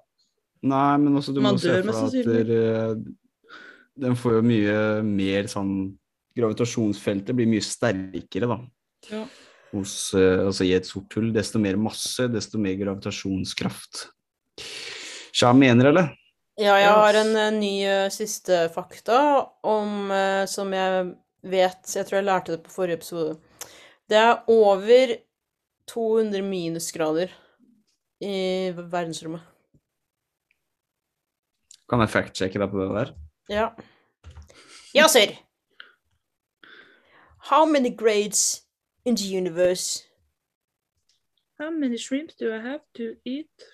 Speaker 3: Nei, men også du
Speaker 1: Man
Speaker 3: må se
Speaker 1: dør
Speaker 3: for
Speaker 1: mest
Speaker 3: deg at eh, den får jo mye mer sånn Gravitasjonsfeltet blir mye sterkere, da.
Speaker 1: Ja.
Speaker 3: Hos, eh, altså i et sort hull. Desto mer masse, desto mer gravitasjonskraft. Sja, mener eller?
Speaker 2: Ja, jeg har
Speaker 1: Yes.
Speaker 2: en eh, ny eh, siste fakta om eh, som jeg vet Jeg tror jeg lærte det på forrige episode. Det er over 200 minusgrader i verdensrommet.
Speaker 3: Kan jeg fact-sjekke deg på det der?
Speaker 2: Ja. Ja, sir. How many grades in the universe?
Speaker 1: How many shrimps do I have to eat?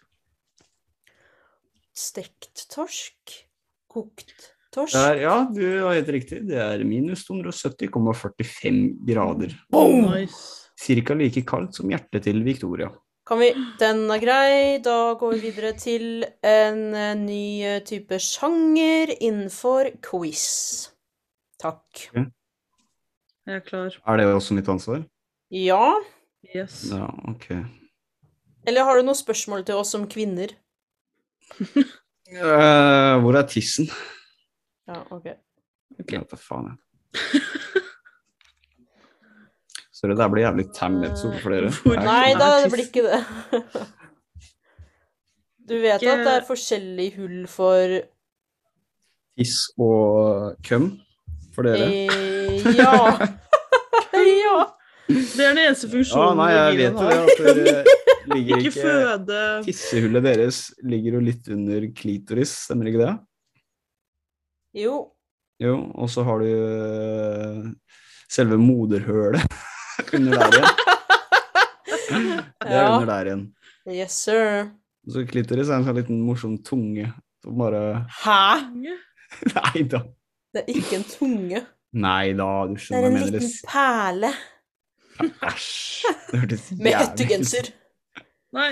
Speaker 2: Stekt torsk? Kokt torsk?
Speaker 3: Det er, ja, du har helt riktig. Det er minus 270,45 grader.
Speaker 2: Boom!
Speaker 1: Nice.
Speaker 3: Cirka like kaldt som hjertet til Victoria.
Speaker 2: Kan vi, den er grei. Da går vi videre til en eh, ny eh, type sjanger innenfor quiz. Takk.
Speaker 1: Jeg er klar.
Speaker 3: Er det også mitt ansvar? Eh,
Speaker 2: Ja,
Speaker 1: Yes.
Speaker 3: Ja, ok.
Speaker 2: eller har du noen spørsmål til oss som kvinner?
Speaker 3: Eh, hvor er tissen?
Speaker 2: Ja, ok.
Speaker 3: Jeg vet da faen, jeg. <laughs> Sorry, det her blir jævlig tam episode for dere.
Speaker 1: Hvor-
Speaker 3: Jeg-
Speaker 2: Nei
Speaker 1: Nei,
Speaker 2: da, det <laughs>
Speaker 1: tiss.
Speaker 2: blir ikke det. Du vet at det er forskjellig hull for
Speaker 3: Tiss og køm for dere.
Speaker 2: eh, Ja. <laughs> ja.
Speaker 1: Det er den eneste
Speaker 3: Ja,
Speaker 1: funksjonen
Speaker 3: nei, jeg vet
Speaker 1: bilen
Speaker 3: jo
Speaker 1: har.
Speaker 3: det at dere
Speaker 2: <laughs>
Speaker 3: ligger
Speaker 1: Ikke
Speaker 3: ikke
Speaker 1: føde
Speaker 3: Tissehullet deres ligger jo litt under klitoris, stemmer ikke det?
Speaker 2: Jo.
Speaker 3: Jo, og så har du øh, selve moderhølet <laughs> under der igjen. Det er
Speaker 2: Ja.
Speaker 3: under der igjen.
Speaker 2: Yes, sir.
Speaker 3: Så klitoris er en sånn liten morsom tunge som bare <laughs>
Speaker 2: Hæ?
Speaker 3: Nei da.
Speaker 2: Det er ikke en tunge.
Speaker 3: Nei da, du
Speaker 2: Det er
Speaker 3: skjønner
Speaker 2: en
Speaker 3: hva jeg
Speaker 2: liten
Speaker 3: mener.
Speaker 2: <laughs> perle
Speaker 3: Æsj. Det hørtes
Speaker 2: med
Speaker 3: jævlig ut. <laughs>
Speaker 2: hettegenser.
Speaker 1: Nei.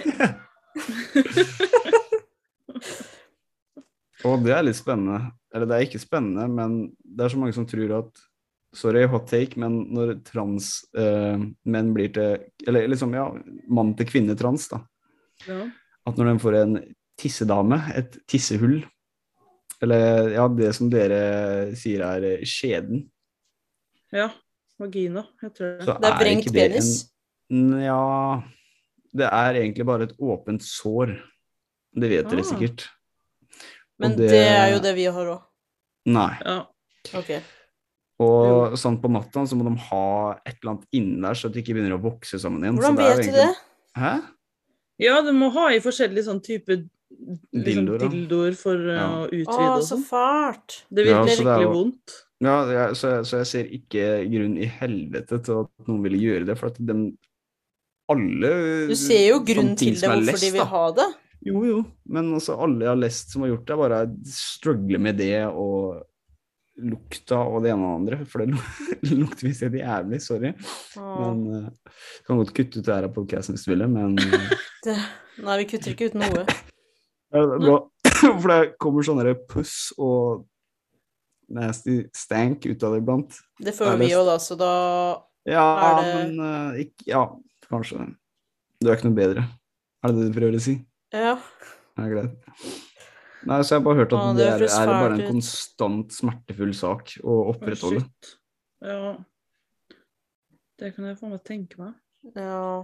Speaker 3: Og det er litt spennende. Eller det er ikke spennende, men det er så mange som tror at Sorry, hot take, men når transmenn menn blir til Eller liksom, ja, mann til kvinne trans, da.
Speaker 1: Ja.
Speaker 3: at når den får en tissedame, et tissehull, eller ja, det som dere sier er skjeden,
Speaker 1: ja. Vagina, heter det.
Speaker 3: så
Speaker 2: Det er vrengt
Speaker 3: ikke det
Speaker 2: penis.
Speaker 3: en Nja Det er egentlig bare et åpent sår. Det vet
Speaker 1: Ah.
Speaker 3: dere sikkert.
Speaker 2: Men
Speaker 3: Og
Speaker 2: det...
Speaker 3: det-
Speaker 2: er jo det vi har òg.
Speaker 3: Nei.
Speaker 1: Ja.
Speaker 2: Ok.
Speaker 3: Og sånn på natta så må de ha et eller annet inni der, så at det ikke begynner å vokse sammen igjen.
Speaker 2: Hvordan
Speaker 3: så det
Speaker 2: vet
Speaker 3: er jo
Speaker 2: du det?
Speaker 3: egentlig- Hæ?
Speaker 1: ja, du må ha i forskjellige sånn type liksom,
Speaker 3: Dildoer, da.
Speaker 1: dildoer for uh,
Speaker 3: Ja.
Speaker 1: å
Speaker 2: Å,
Speaker 1: utvide og
Speaker 2: så
Speaker 1: sånn.
Speaker 2: fælt.
Speaker 1: Det
Speaker 3: Ja,
Speaker 1: virker
Speaker 3: så det er
Speaker 1: virkelig
Speaker 3: jo-
Speaker 1: vondt.
Speaker 3: Ja, jeg, så, jeg, så jeg ser ikke grunn i helvete til at noen ville gjøre det, for at de alle
Speaker 2: Du ser jo
Speaker 3: sånne
Speaker 2: grunnen til
Speaker 3: ting
Speaker 2: det,
Speaker 3: som er
Speaker 2: hvorfor
Speaker 3: lest,
Speaker 2: de vil
Speaker 3: da.
Speaker 2: ha det.
Speaker 3: Jo, jo, men altså alle jeg har lest som har gjort det, bare struggler med det og lukta og det ene og det andre, for det lu- <laughs> lukter visst helt jævlig, sorry.
Speaker 2: Å,
Speaker 3: Men eh, kan godt kutte ut det her av podcasten hvis du vil, men eh,
Speaker 2: Nei, vi kutter ikke ut noe.
Speaker 3: ja, det er bra. <coughs> For det kommer sånne der puss og nasty stank ut av det iblant.
Speaker 2: Det
Speaker 3: Det
Speaker 2: får
Speaker 3: er
Speaker 2: vi
Speaker 3: best.
Speaker 2: jo, da, så da
Speaker 3: Ja,
Speaker 2: Er det-
Speaker 3: men eh, ikke, Ja, kanskje. Du er ikke noe bedre. Er det det du prøver å si?
Speaker 2: Ja.
Speaker 3: Ja, greit. Nei, så jeg har bare hørt at
Speaker 2: Å,
Speaker 3: det,
Speaker 2: det
Speaker 3: er,
Speaker 2: høres
Speaker 3: er bare
Speaker 2: fælt
Speaker 3: en
Speaker 2: ut.
Speaker 3: konstant smertefull sak å
Speaker 1: Å,
Speaker 3: opprettholde.
Speaker 1: shit. Ja. Det kan jeg faen meg tenke meg.
Speaker 2: ja.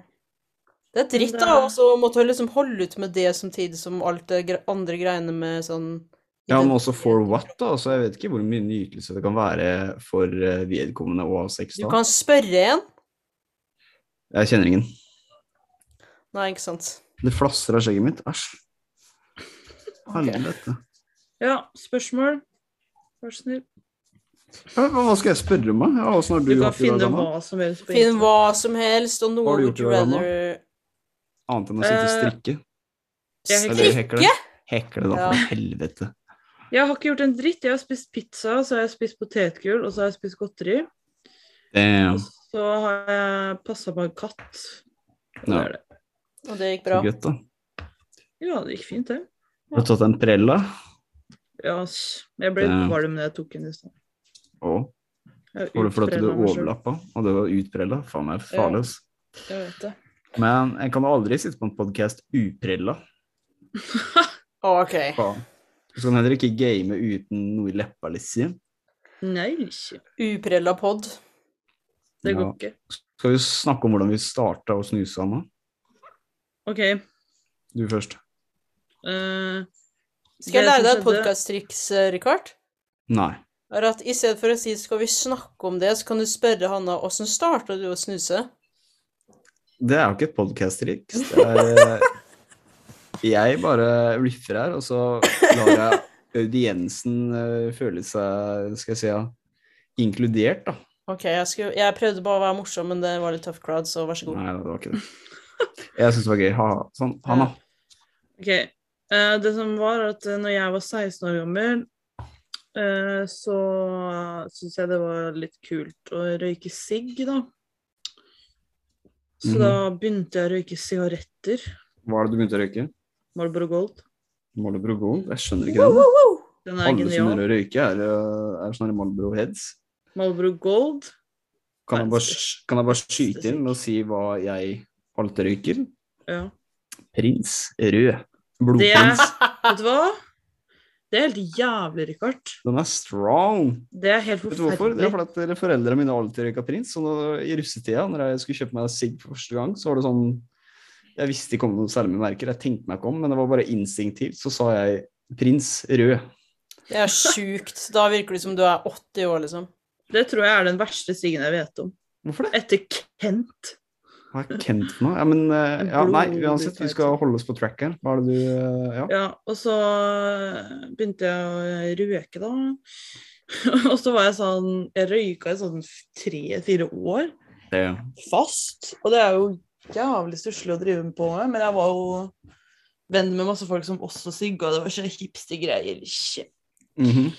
Speaker 2: Det er dritt,
Speaker 1: det
Speaker 2: da,
Speaker 1: er-
Speaker 2: og så måtte jeg liksom holde ut med det samtidig som alt det gre andre greiene med sånn
Speaker 3: Ja, men også for what, da? Så jeg vet ikke hvor mye nytelse det kan være for eh, vedkommende å ha sex
Speaker 2: Du
Speaker 3: da.
Speaker 2: kan spørre en.
Speaker 3: Jeg kjenner ingen.
Speaker 2: Nei, ikke sant.
Speaker 3: Det flasser av skjegget mitt. Æsj.
Speaker 2: Ok.
Speaker 3: Helvete.
Speaker 1: Ja, spørsmål? Vær så snill.
Speaker 3: Hva hva skal jeg spørre om, da? Ja, åssen har du,
Speaker 1: Du kan
Speaker 3: hatt det i dag,
Speaker 1: finne
Speaker 3: Anna?
Speaker 1: hva som helst på
Speaker 2: Finn
Speaker 1: internett.
Speaker 2: hva som helst, og noe
Speaker 3: Har du
Speaker 2: would
Speaker 3: gjort
Speaker 2: you
Speaker 3: det, Anna?
Speaker 2: rather
Speaker 3: Annet enn å
Speaker 2: Eh,
Speaker 3: sitte og strikke?
Speaker 1: Jeg
Speaker 3: Eller
Speaker 1: strikke?
Speaker 3: hekle? Hekle, da,
Speaker 2: Ja.
Speaker 3: for helvete.
Speaker 1: Jeg har ikke gjort en dritt. Jeg har spist pizza, så har jeg spist potetgull, og så har jeg spist godteri.
Speaker 3: Damn.
Speaker 1: Så har jeg passa på en katt. Og det
Speaker 3: Ja.
Speaker 1: er det.
Speaker 2: Og det gikk bra.
Speaker 3: Så godt, da.
Speaker 1: Ja, det gikk fint, det.
Speaker 3: Har du tatt en prella?
Speaker 1: Ja, ass. jeg ble
Speaker 3: Ja.
Speaker 1: varm når jeg tok den i stad.
Speaker 3: Å,
Speaker 1: Jeg
Speaker 3: var det fordi at du
Speaker 1: utprella meg selv.
Speaker 3: overlappa, og det var utprella? Faen meg farlig, altså.
Speaker 1: Jeg vet det.
Speaker 3: Men jeg kan aldri sitte på en podkast uprella.
Speaker 2: OK.
Speaker 3: Faen. Så kan jeg heller ikke game uten noe i leppa, liksom.
Speaker 1: Nei, ikke.
Speaker 2: Uprella pod.
Speaker 1: det går
Speaker 3: Ja.
Speaker 1: ikke.
Speaker 3: Skal vi snakke om hvordan vi starta å snuse, Anna?
Speaker 1: OK.
Speaker 3: Du først.
Speaker 1: eh, det
Speaker 2: Skal jeg lære deg
Speaker 1: som
Speaker 2: et
Speaker 1: skjedde-
Speaker 2: podkasttriks, Rikard?
Speaker 3: Nei.
Speaker 2: Er at i stedet for å si 'skal vi snakke om det', så kan du spørre Hanna 'åssen starta du å snuse'?
Speaker 1: <laughs>
Speaker 3: Det er jo ikke et podkast-triks. Det er Jeg bare riffer her, og så lar jeg audiensen eh, føle seg, skal jeg si, ja, inkludert, da.
Speaker 2: Ok, jeg, skulle, jeg prøvde bare å være morsom, men det var litt tough crowd, så vær så god.
Speaker 3: Nei, det var ikke det. Jeg syns det var gøy. Ha, ha. sånn, han, da.
Speaker 1: Ok, eh, det som var at eh, når jeg var 16 år gammel, eh, så syntes jeg det var litt kult å røyke sigg, da. Så
Speaker 3: Mhm.
Speaker 1: da begynte jeg å røyke sigaretter.
Speaker 3: Hva er det du begynte å røyke?
Speaker 1: Marlboro Gold.
Speaker 3: Marlboro Gold? Jeg skjønner ikke det.
Speaker 1: Den er
Speaker 3: Alle som
Speaker 1: genial.
Speaker 3: begynner å røyke, er, eh, er sånne Marlboro Heads.
Speaker 1: Marlboro Gold.
Speaker 3: Kan jeg,
Speaker 1: Verdens
Speaker 3: bare, kan jeg bare skyte inn med å si hva jeg alltid røyker?
Speaker 1: Ja.
Speaker 3: Prins rød.
Speaker 1: Det
Speaker 3: Blodprins.
Speaker 1: er, vet du hva? Det er helt jævlig, Rikard.
Speaker 3: Den er strong.
Speaker 1: Det er helt
Speaker 3: Vet du hvorfor? Det
Speaker 1: forferdelig.
Speaker 3: er fordi at dere foreldrene mine alltid røyka prins. Så da, i russetida, når jeg skulle kjøpe meg sigg for første gang, så var det sånn Jeg visste ikke om noen særlige merker, jeg tenkte meg ikke om, men det var bare instinktivt. Så sa jeg prins rød.
Speaker 2: Det er sjukt. Da virker det som du er 80 år, liksom.
Speaker 1: Det tror jeg er den verste siggen jeg vet om.
Speaker 3: Hvorfor det?
Speaker 1: Etter Kent.
Speaker 3: Hva er Kent for noe? Ja, men eh, ja, Nei, uansett, vi skal holde oss på track her. Hva er det du eh, Ja.
Speaker 1: Ja, og så eh, begynte jeg å røyke, da. <laughs> og så var jeg sånn Jeg røyka i sånn tre-fire år
Speaker 3: Det.
Speaker 1: fast. Og det er jo jævlig stusslig å drive med på med, men jeg var jo venn med masse folk som også sigga, og det var sånne hipste greier. Kjøre
Speaker 3: Mhm.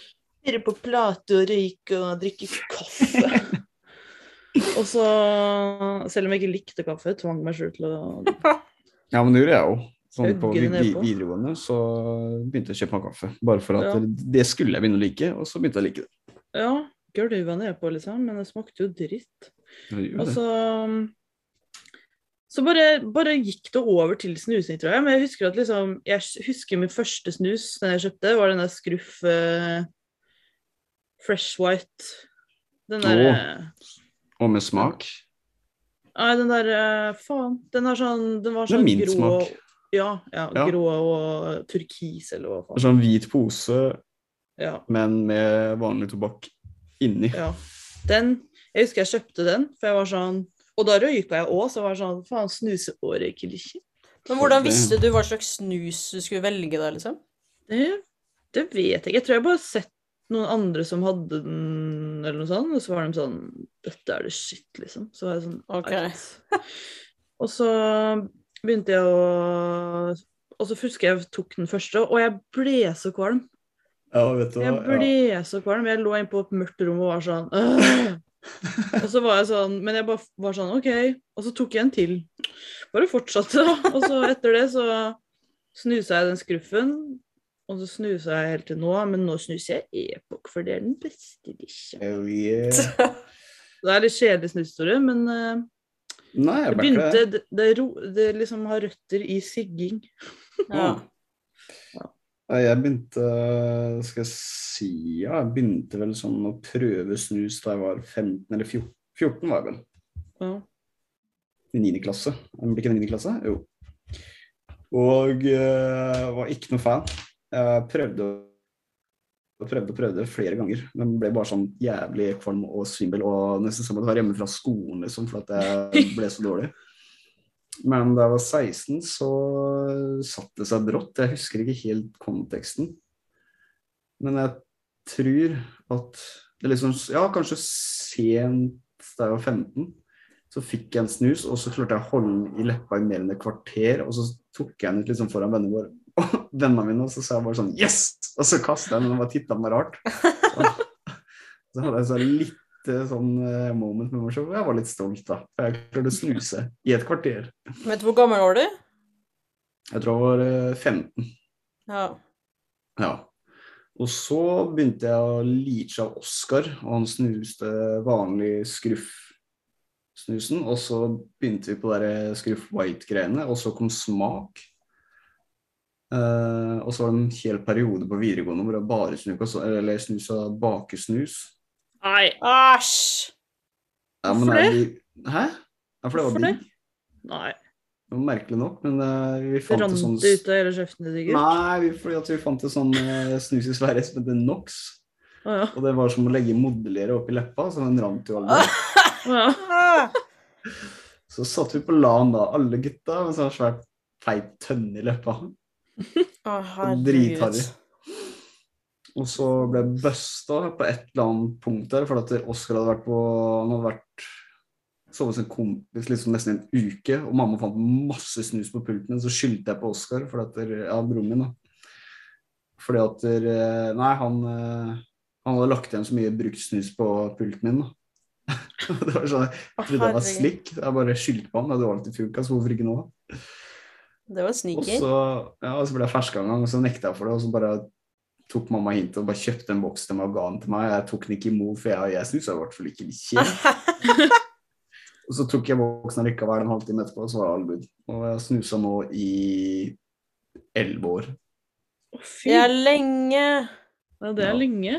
Speaker 1: på plate og røyke og drikke kaffe. <laughs> og så, selv om jeg ikke likte kaffe, tvang meg sjøl til å
Speaker 3: Ja, men det gjorde jeg òg. Sånn på
Speaker 1: Øggene
Speaker 3: vi- vi-
Speaker 1: nedpå.
Speaker 3: videregående så begynte jeg å kjøpe meg kaffe. Bare for at
Speaker 1: Ja.
Speaker 3: det skulle jeg begynne å like, og så begynte jeg å like det.
Speaker 1: Ja, gulva nedpå, liksom, men det smakte jo dritt.
Speaker 3: Jeg gjorde
Speaker 1: Og
Speaker 3: det.
Speaker 1: så så bare, bare gikk det over til snusing, tror jeg. Men jeg husker at liksom, jeg husker min første snus den jeg kjøpte, var den der Scruff eh, Fresh White. Den der,
Speaker 3: Åh.
Speaker 1: eh,
Speaker 3: Og med smak.
Speaker 1: Nei, den der eh, Faen. Den, er sånn, den var
Speaker 3: Det er
Speaker 1: sånn
Speaker 3: min
Speaker 1: grå
Speaker 3: smak.
Speaker 1: og- Ja, ja,
Speaker 3: Ja.
Speaker 1: grå og turkis, eller hva
Speaker 3: Det
Speaker 1: faen.
Speaker 3: er Sånn hvit pose,
Speaker 1: Ja,
Speaker 3: men med vanlig tobakk inni.
Speaker 1: ja. Den Jeg husker jeg kjøpte den, for jeg var sånn Og da røyka jeg òg, så jeg var sånn Faen, snuseåret, ikke litt.
Speaker 2: Men hvordan
Speaker 3: Ok.
Speaker 2: visste du hva slags snus du skulle velge da, liksom?
Speaker 1: Det, det vet jeg ikke. Jeg tror jeg bare har sett noen andre som hadde den, eller noe sånt, og så var de sånn Dette er det shit, liksom. Så var jeg sånn
Speaker 2: Ok.
Speaker 1: «Eit». Og så begynte jeg å Og så husker jeg jeg tok den første, og jeg ble så kvalm.
Speaker 3: Ja, vet du
Speaker 1: Jeg
Speaker 3: hva?
Speaker 1: ble
Speaker 3: Ja.
Speaker 1: så kvalm. Jeg lå inne på et mørkt rom og var sånn «Åh!» Og så var jeg sånn Men jeg bare var sånn OK. Og så tok jeg en til. Bare fortsatte, da. Og så etter det så snusa jeg den skruffen. Og så snusa jeg helt til nå, men nå snuser jeg Epoch, for det er den beste bikkja.
Speaker 3: Hell yeah.
Speaker 1: Det er litt kjedelig snushistorie, men eh,
Speaker 3: Nei, jeg
Speaker 1: det
Speaker 3: backer
Speaker 1: begynte
Speaker 3: det.
Speaker 1: det, det, ro- det liksom har røtter i sigging.
Speaker 2: Ja.
Speaker 3: Nei, Jeg begynte eh, Skal jeg si ja, jeg begynte vel sånn å prøve snus da jeg var 15 eller 14, 14 var jeg vel.
Speaker 1: Ja.
Speaker 3: i 9. klasse. Blir ikke det 9. klasse? Jo. Og eh, var ikke noe fan. Jeg prøvde og prøvde og prøvde flere ganger, men ble bare sånn jævlig kvalm og svimmel. Og nesten som å være hjemme fra skolen, liksom, for at jeg ble så dårlig. Men da jeg var 16, så satte det seg brått. Jeg husker ikke helt konteksten. Men jeg tror at det liksom Ja, kanskje sent da jeg var 15. Så fikk jeg en snus, og så klarte jeg å holde den i leppa i mer enn et kvarter. Og så tok jeg den ut liksom foran vennene våre. <laughs> Og vennene mine, og så sa jeg bare sånn Yes! Og så kasta jeg den, og bare titta på meg rart. Så, så hadde jeg så litt eh, sånn eh, moment med meg selv. og Jeg var litt stolt, da. For jeg klarte å snuse i et kvarter.
Speaker 2: Vet du hvor gammel var du?
Speaker 3: Jeg tror jeg var eh, 15.
Speaker 2: Ja.
Speaker 3: Ja. Og så begynte jeg å leache av Oscar, og han snuste vanlig skruff-snusen. Og så begynte vi på de skruff white-greiene, og så kom smak. Eh, og så var det en hel periode på videregående hvor jeg bare snuka, eller snusa bakesnus.
Speaker 1: Nei.
Speaker 2: Æsj!
Speaker 3: Ja, men
Speaker 1: Hvorfor
Speaker 3: er de- Hæ? Ja, for det
Speaker 1: Hvorfor
Speaker 3: var
Speaker 1: det?
Speaker 3: digg.
Speaker 1: Nei.
Speaker 3: Det var Merkelig nok, men eh, vi
Speaker 1: Det
Speaker 3: fant det sånn
Speaker 1: rant ut av hele kjeften din, sikkert.
Speaker 3: Nei, vi, fordi at vi fant det sånn eh, snus i Sverige som heter Nox.
Speaker 1: Å ja.
Speaker 3: Og det var som å legge modellere oppi leppa, så den rant jo aldri.
Speaker 1: Å ja.
Speaker 2: Ah!
Speaker 3: Så satt vi på LAN da, alle gutta med sånn svært feit tønne i leppa.
Speaker 2: Å,
Speaker 3: Dritharry. Og så ble jeg busta på et eller annet punkt der, for at Oskar hadde vært på Han hadde vært sovet hos en kompis liksom nesten en uke, og mamma fant masse snus på pulten, så skyldte jeg på Oskar, for at Ja, broren min, da. Fordi at eh, Nei, han eh, Han hadde lagt igjen så mye brukt snus på pulten min, da. <laughs> det var sånn,
Speaker 2: Å,
Speaker 3: jeg trodde det var
Speaker 2: herregud.
Speaker 3: slikk. Jeg bare skyldte på ham. Det var alltid funka, så hvorfor ikke nå? da?
Speaker 2: Det var
Speaker 3: Og
Speaker 2: sneaky.
Speaker 3: så, ja, og så ble jeg ferska en gang, og så nekta jeg for det. Og så bare tok mamma hintet og bare kjøpte en boks til meg og ga den til meg. Jeg tok den ikke imot, for jeg, jeg snusa i hvert fall ikke
Speaker 2: <laughs>
Speaker 3: bikkje.
Speaker 1: <laughs>
Speaker 3: Og så tok jeg boksen likevel en halvtime etterpå, og så var det all good. Og jeg snusa nå i elleve år.
Speaker 2: Det
Speaker 1: Fy,
Speaker 2: er lenge.
Speaker 1: ja, det er
Speaker 3: Ja.
Speaker 1: lenge.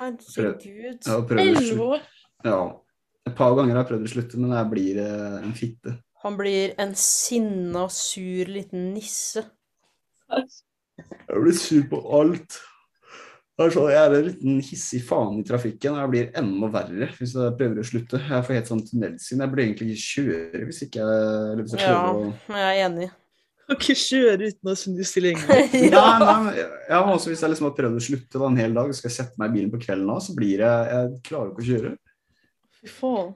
Speaker 2: Herregud.
Speaker 3: Jeg har prøvd å
Speaker 1: Elleve
Speaker 3: slutte.
Speaker 1: år.
Speaker 3: Ja. Et par ganger har jeg prøvd å slutte, men jeg blir eh, en fitte.
Speaker 2: Han blir en sinna, sur liten nisse.
Speaker 3: Jeg blir sur på alt. Det er sånn, jeg er en liten hissig faen i trafikken, og jeg blir enda verre hvis jeg prøver å slutte. Jeg får helt sånn tunnelsyn. Jeg burde egentlig ikke kjøre hvis ikke jeg, eller hvis jeg
Speaker 2: Ja.
Speaker 3: prøver å
Speaker 2: Jeg er
Speaker 1: <laughs>
Speaker 2: enig.
Speaker 1: Kan <laughs> ikke kjøre uten å snu stillingen.
Speaker 3: Nei,
Speaker 2: <laughs> ja.
Speaker 3: nei, men ja, men også hvis jeg liksom har prøvd å slutte da, en hel dag og skal sette meg i bilen på kvelden, da, så blir jeg, jeg klarer ikke å kjøre.
Speaker 1: Fy faen.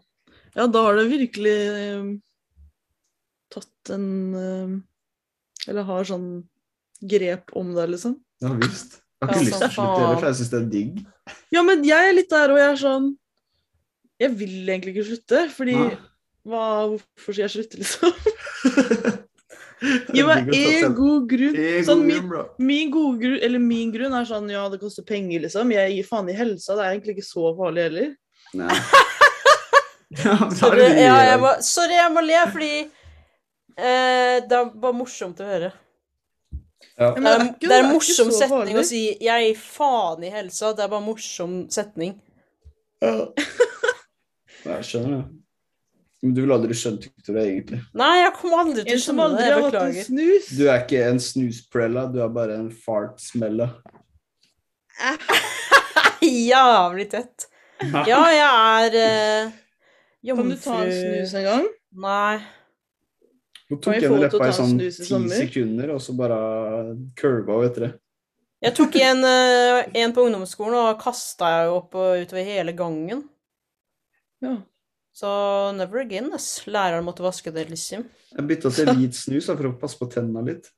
Speaker 1: Ja, da har det virkelig eh, tatt en eh, Eller har sånn grep om deg, liksom.
Speaker 3: Ja visst. Jeg har
Speaker 2: Ja,
Speaker 3: ikke lyst til å
Speaker 2: så
Speaker 3: slutte heller,
Speaker 2: faen.
Speaker 3: for jeg syns det er digg.
Speaker 1: Ja, men jeg er litt der, og jeg er sånn Jeg vil egentlig ikke slutte, fordi
Speaker 3: Nei.
Speaker 1: hva, Hvorfor skal jeg slutte,
Speaker 3: <laughs>
Speaker 1: liksom? <laughs>
Speaker 3: Det er
Speaker 1: Gi meg
Speaker 3: digg å ta
Speaker 1: én
Speaker 3: selv-
Speaker 1: god grunn.
Speaker 3: en
Speaker 1: sånn
Speaker 3: god
Speaker 1: midt-
Speaker 3: grunn, bra.
Speaker 2: <laughs>
Speaker 1: Min gode grunn, eller min grunn er sånn ja, det koster penger, liksom. Jeg gir faen i helsa. Det er egentlig ikke så farlig heller.
Speaker 3: Nei. <laughs> Ja, men da er
Speaker 2: Sorry,
Speaker 3: det mye
Speaker 2: ja, jeg
Speaker 3: å gjøre.
Speaker 2: må, sorry, jeg må le, fordi eh, det var morsomt å høre.
Speaker 3: Ja.
Speaker 1: Men
Speaker 2: Det
Speaker 1: det er
Speaker 2: er,
Speaker 1: ikke-
Speaker 2: det er en
Speaker 1: det er ikke
Speaker 2: morsom
Speaker 1: så
Speaker 2: setning å
Speaker 1: farlig.
Speaker 2: si 'jeg gir faen i helsa'. Det er bare en morsom setning.
Speaker 3: Ja. Jeg skjønner det. Men du ville aldri skjønt det egentlig.
Speaker 2: Nei, jeg kommer aldri til
Speaker 1: En
Speaker 2: å
Speaker 1: som
Speaker 2: skjønne det.
Speaker 1: aldri
Speaker 2: Jeg
Speaker 1: har hatt en
Speaker 2: beklager.
Speaker 1: snus.
Speaker 3: Du er ikke en snusprella, du er bare en fartsmella.
Speaker 2: <laughs> Jævlig tett. Ja, jeg er eh,
Speaker 1: Kan du ta en
Speaker 2: jomfru...
Speaker 1: snus en gang?
Speaker 2: Nei.
Speaker 3: Hun
Speaker 1: Kan
Speaker 3: tok
Speaker 1: vi få
Speaker 3: en
Speaker 1: henne til å
Speaker 3: leppa
Speaker 1: ta
Speaker 3: i
Speaker 1: en
Speaker 3: sånn
Speaker 1: snus i
Speaker 3: ti
Speaker 1: sommer?
Speaker 3: sekunder, og så bare curva hun etter det.
Speaker 2: Jeg tok en, eh, en på ungdomsskolen, og kasta jeg jo opp og utover hele gangen.
Speaker 1: Ja.
Speaker 2: Så never again, ass. Læreren måtte vaske det, liksom.
Speaker 3: Jeg bytta til hvit snus da, for å passe på tenna litt.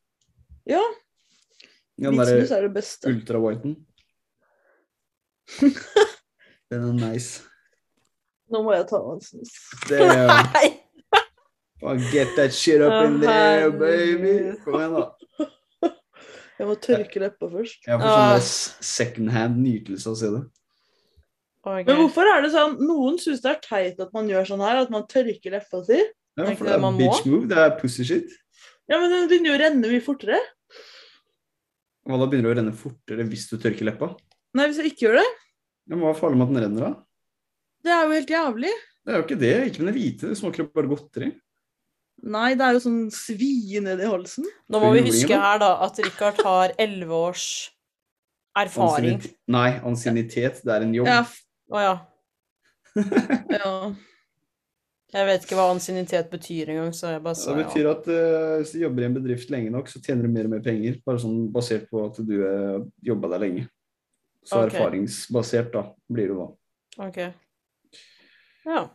Speaker 1: Ja.
Speaker 3: Den
Speaker 1: Hvit snus
Speaker 3: derre
Speaker 1: er det beste. <laughs>
Speaker 3: ultrawhiten. Den er nice.
Speaker 1: Nå må jeg ta meg en snus.
Speaker 3: Det er,
Speaker 2: Nei!
Speaker 3: get that shit up in there,
Speaker 2: Å,
Speaker 3: baby!
Speaker 2: herregud.
Speaker 3: Kom igjen, da.
Speaker 1: Jeg må tørke leppa først.
Speaker 3: Jeg får
Speaker 2: Ah.
Speaker 3: sånn s- second hand nytelse av å se det.
Speaker 2: Ok.
Speaker 1: Men hvorfor er det sånn Noen syns det er teit at man gjør sånn her, at man tørker leppa si.
Speaker 3: Ja,
Speaker 2: Er ikke
Speaker 3: for
Speaker 2: det
Speaker 3: det er
Speaker 2: man må?
Speaker 3: bitch move, det er pussy shit.
Speaker 1: Ja, men den begynner jo å renne mye fortere.
Speaker 3: Hva da begynner det å renne fortere hvis du tørker leppa?
Speaker 1: Nei, hvis jeg ikke gjør det.
Speaker 3: Ja, men hva er farlig med at den renner da?
Speaker 1: Det er jo helt jævlig.
Speaker 3: Det er jo ikke det, ikke med det hvite, det smaker jo bare godteri.
Speaker 1: Nei, det er jo sånn svi nedi halsen.
Speaker 2: Nå må vi
Speaker 3: Juling,
Speaker 2: huske
Speaker 3: da.
Speaker 2: her, da, at Richard har elleve års erfaring.
Speaker 3: Ansiennitet- Nei, ansiennitet, det er en jobb.
Speaker 1: Ja. f-
Speaker 2: Å ja.
Speaker 1: ja.
Speaker 2: Jeg vet ikke hva ansiennitet betyr engang, så jeg bare
Speaker 3: Det
Speaker 2: sa ja.
Speaker 3: betyr at eh, hvis du jobber i en bedrift lenge nok, så tjener du mer og mer penger, bare sånn basert på at du uh, jobba der lenge. Så
Speaker 2: Ok.
Speaker 3: erfaringsbasert da, blir det da.
Speaker 2: Ok. Ja.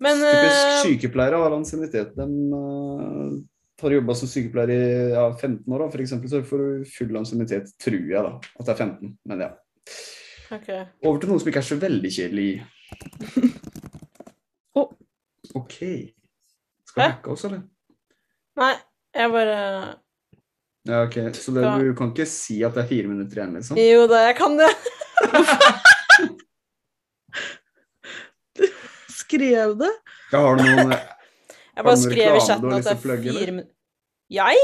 Speaker 2: Men
Speaker 3: Typisk
Speaker 2: eh,
Speaker 3: sykepleiere har ansiennitet. De eh, har jobba som sykepleier i ja, 15 år, da, for eksempel, så får du full ansiennitet, tror jeg, da. At det er 15, men ja.
Speaker 2: ok.
Speaker 3: Over til noe som ikke er så veldig kjedelig.
Speaker 1: Å.
Speaker 3: OK. Skal vi
Speaker 2: Hæ?
Speaker 3: hacke oss, eller?
Speaker 2: Nei, jeg bare
Speaker 3: Ja, ok. Så det,
Speaker 2: Skal-
Speaker 3: du kan ikke si at det er fire minutter igjen, liksom?
Speaker 2: Jo da, jeg kan det.
Speaker 1: Skrev det.
Speaker 3: Ja, har du
Speaker 2: Jeg
Speaker 3: noen Har
Speaker 2: bare
Speaker 3: du noen
Speaker 2: skrev i
Speaker 3: reklame du
Speaker 2: chatten
Speaker 3: har
Speaker 2: at
Speaker 3: lyst
Speaker 2: det
Speaker 3: til å
Speaker 2: er
Speaker 3: plugge, eller?
Speaker 2: fire min... Jeg?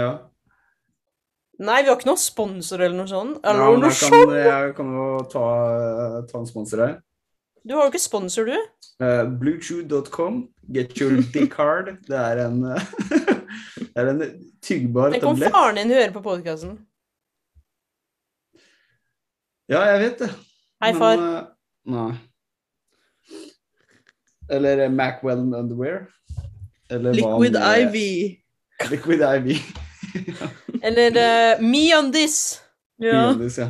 Speaker 3: Ja.
Speaker 2: Nei, vi har ikke noen sponsor eller noe sånt. Eller
Speaker 3: ja men
Speaker 2: noe
Speaker 3: jeg
Speaker 2: sånt.
Speaker 3: kan, eh, jeg kan jo ta, ta en sponsor her.
Speaker 2: Du har jo ikke sponsor, du.
Speaker 3: Eh, Bluechew.com. Get your
Speaker 2: <laughs>
Speaker 3: dick hard. Det er en, <laughs> eh, det er en tyggbar
Speaker 2: Tenk om
Speaker 3: tablett.
Speaker 2: faren din hører på podkasten.
Speaker 3: Ja, jeg vet det.
Speaker 2: Hei,
Speaker 3: Men,
Speaker 2: far.
Speaker 3: eh, nei. Eller eh, Macwell Underwear. Eller hva <laughs>
Speaker 1: Liquid
Speaker 3: med-
Speaker 1: IV.
Speaker 3: Liquid IV.
Speaker 2: Eller uh, Meandis!
Speaker 3: <laughs>
Speaker 1: Ja.
Speaker 3: Uanis, ja.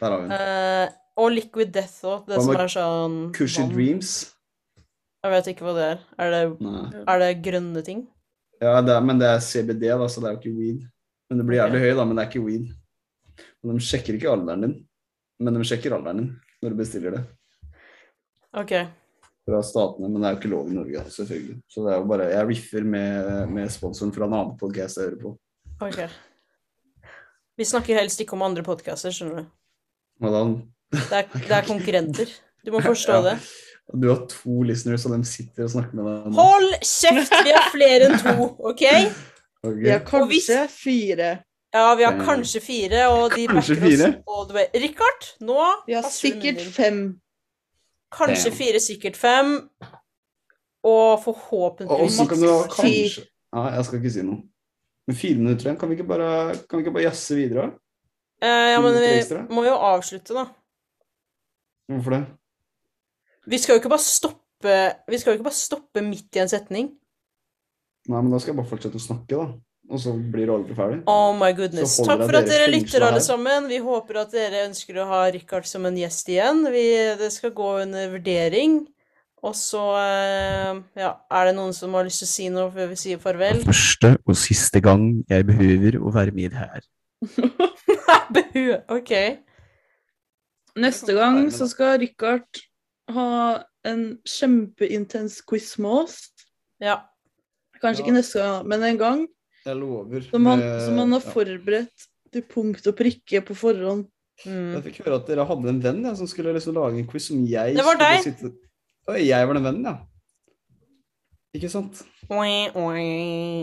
Speaker 3: Der har vi den.
Speaker 2: Eh, og Liquid Death òg. Det
Speaker 3: Hva
Speaker 2: som
Speaker 3: med
Speaker 2: er sånn
Speaker 3: Cushy
Speaker 2: vann.
Speaker 3: Dreams.
Speaker 2: Jeg vet ikke hva det er. Er det,
Speaker 3: Nei.
Speaker 2: er det grønne ting?
Speaker 3: Ja, det er, men det er CBD, da, så det er jo ikke weed. Men det blir jævlig høy, da, men det er ikke weed. Og de sjekker ikke alderen din, men de sjekker alderen din når du bestiller det
Speaker 2: OK.
Speaker 3: fra statene. Men det er jo ikke lov i Norge, da, selvfølgelig. Så det er jo bare Jeg riffer med, med sponsoren fra en annen podcast jeg hører på.
Speaker 2: ok. Vi snakker helst ikke om andre podkaster, skjønner du.
Speaker 3: Og da,
Speaker 2: Det er, det er konkurrenter. Du må forstå
Speaker 3: Ja.
Speaker 2: det.
Speaker 3: du har to listeners, og de sitter og snakker med deg nå.
Speaker 2: Hold kjeft! Vi er flere enn to, OK?
Speaker 3: Ok.
Speaker 1: Vi har
Speaker 2: Og hvis-
Speaker 1: kanskje fire.
Speaker 2: Ja, vi har
Speaker 3: Eh,
Speaker 2: kanskje fire, og de
Speaker 3: kanskje
Speaker 2: backer oss
Speaker 3: fire?
Speaker 2: all the way. Richard, nå
Speaker 1: Vi har
Speaker 2: passer du med
Speaker 1: sikkert
Speaker 2: din.
Speaker 1: fem.
Speaker 2: Kanskje
Speaker 3: Damn.
Speaker 2: fire, sikkert fem. Og
Speaker 3: Og
Speaker 2: forhåpentligvis
Speaker 3: så kan du ha
Speaker 1: Maks ti.
Speaker 3: kanskje Nei, jeg skal ikke si noe. Men fire minutter igjen, kan vi ikke bare, kan vi ikke bare jazze videre? da?
Speaker 2: Eh, ja, men
Speaker 3: Minutter
Speaker 2: vi
Speaker 3: ekstra.
Speaker 2: må jo avslutte, da.
Speaker 3: Hvorfor det?
Speaker 2: Vi skal jo ikke bare stoppe Vi skal jo ikke bare stoppe midt i en setning.
Speaker 3: Nei, men da skal jeg bare fortsette å snakke, da. Og så blir alle ferdig.
Speaker 2: Oh my goodness.
Speaker 3: Så holder
Speaker 2: Takk
Speaker 3: jeg
Speaker 2: for at
Speaker 3: dere
Speaker 2: dere
Speaker 3: fengslet
Speaker 2: lytter, alle
Speaker 3: her.
Speaker 2: sammen. Vi håper at dere ønsker å ha Richard som en gjest igjen. Vi, det skal gå under vurdering. Og så eh, ja, er det noen som har lyst til å si noe før vi sier farvel?
Speaker 3: Første og siste gang jeg behøver å være med her.
Speaker 2: Behu. OK.
Speaker 1: Neste gang så skal Richard ha en kjempeintens quiz med oss.
Speaker 2: Ja.
Speaker 1: Kanskje ikke neste gang, men en gang.
Speaker 3: Jeg lover.
Speaker 1: Som han,
Speaker 3: Eh,
Speaker 1: som han har
Speaker 3: ja.
Speaker 1: forberedt til punkt og prikke på forhånd.
Speaker 2: Mm.
Speaker 3: Jeg fikk høre at dere hadde en venn ja, som skulle liksom lage en quiz som jeg
Speaker 2: Det var
Speaker 3: skulle
Speaker 2: deg.
Speaker 3: sitte Oi, jeg var den vennen, ja. Ikke sant?
Speaker 2: Oi, oi.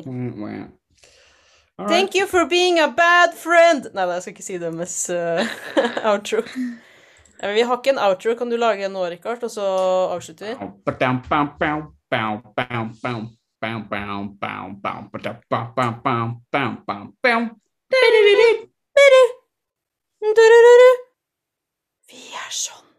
Speaker 3: Mm, wow. All
Speaker 2: Thank you for being a bad friend Nei, jeg skal ikke si det med <laughs> outro. Ja, men Vi har ikke en outro. Kan du lage en nå, Richard, og så avslutter vi? Vi er sånn.